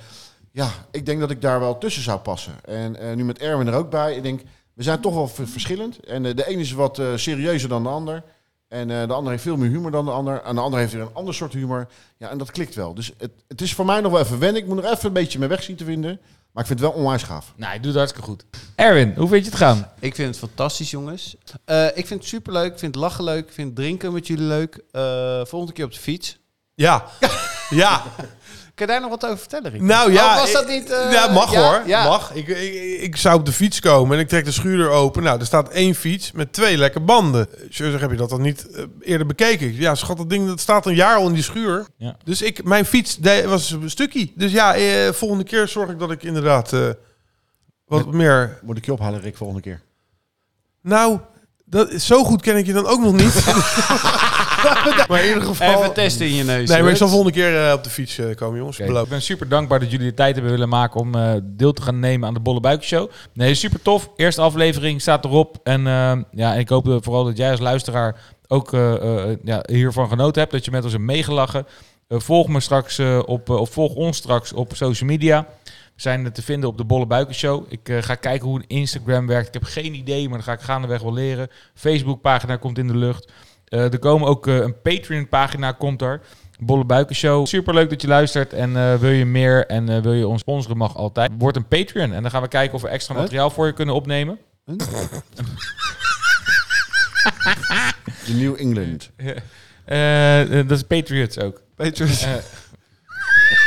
Speaker 5: ja, ik denk dat ik daar wel tussen zou passen. En eh, nu met Erwin er ook bij, ik denk, we zijn toch wel v- verschillend. En eh, de een is wat eh, serieuzer dan de ander. En eh, de ander heeft veel meer humor dan de ander. En de ander heeft weer een ander soort humor. Ja, en dat klikt wel. Dus het, het is voor mij nog wel even wennen. Ik moet nog even een beetje mijn weg zien te vinden. Maar ik vind het wel onwijs gaaf.
Speaker 4: Nee, je Nou, doet het hartstikke goed. Erwin, hoe vind je het gaan?
Speaker 2: Ik vind het fantastisch, jongens. Eh, ik vind het superleuk. Ik vind lachen leuk. Ik vind drinken met jullie leuk. Eh, volgende keer op de fiets.
Speaker 3: Ja. ja.
Speaker 2: Kun je daar nog wat over vertellen, Rick?
Speaker 3: Nou ja.
Speaker 2: was
Speaker 3: ik-
Speaker 2: dat niet, eh,
Speaker 3: ja, mag
Speaker 2: ja,
Speaker 3: hoor.
Speaker 2: ja.
Speaker 3: Mag. Ik, ik, ik zou op de fiets komen en ik trek de schuurder open. Nou, er staat één fiets met twee lekke banden. Zeg, heb je dat dan niet eh, eerder bekeken? Ja, schat, dat ding dat staat een jaar al in die schuur.
Speaker 4: Ja.
Speaker 3: Dus ik, mijn fiets de- was een stukje. Dus ja, eh, volgende keer zorg ik dat ik inderdaad eh, wat meer...
Speaker 5: Moet ik je ophalen, Rick, volgende keer.
Speaker 3: Nou, dat, zo goed ken ik je dan ook nog niet. maar in ieder geval...
Speaker 2: Even testen in je neus.
Speaker 3: Nee, maar ik zal
Speaker 2: hoor.
Speaker 3: volgende keer eh, op de fiets eh, komen, jongens.
Speaker 4: Oké,
Speaker 3: Beloofd.
Speaker 4: Ik ben super dankbaar dat jullie de tijd hebben willen maken om eh, deel te gaan nemen aan de Bolle Buik Show. Nee, super tof. Eerste aflevering staat erop. En eh, ja, ik hoop eh, vooral dat jij als luisteraar ook eh, eh, ja, hiervan genoten hebt. Dat je met ons hebt meegelachen. Eh, volg me straks eh, op, eh, of volg ons straks op social media. We zijn te vinden op de Bolle Buiken Show. Ik eh, ga kijken hoe Instagram werkt. Ik heb geen idee, maar dat ga ik gaandeweg wel leren. Facebookpagina komt in de lucht. Eh, er komen ook eh, een Patreon-pagina komt er. Bolle Buiken Show. Superleuk dat je luistert. En eh, wil je meer en eh, wil je ons sponsoren, mag altijd. Word een Patreon. En dan gaan we kijken of we extra
Speaker 5: Huh?
Speaker 4: materiaal voor je kunnen opnemen.
Speaker 5: De New England.
Speaker 4: Eh, eh, dat is Patriots ook. Patriots.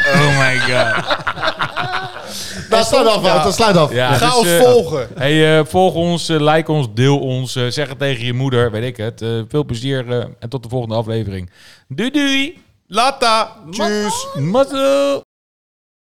Speaker 4: oh my god.
Speaker 5: Dat sluit af,
Speaker 3: Ja.
Speaker 5: dat sluit af.
Speaker 4: Ja,
Speaker 3: Ga
Speaker 4: dus,
Speaker 3: ons
Speaker 4: eh,
Speaker 3: volgen.
Speaker 4: Hey, eh, volg ons, eh, like ons, deel ons, eh, zeg het tegen je moeder, weet ik het. Eh, veel plezier eh, en tot de volgende aflevering. Doei doei!
Speaker 3: Lata. Tjus.
Speaker 4: Mazzel!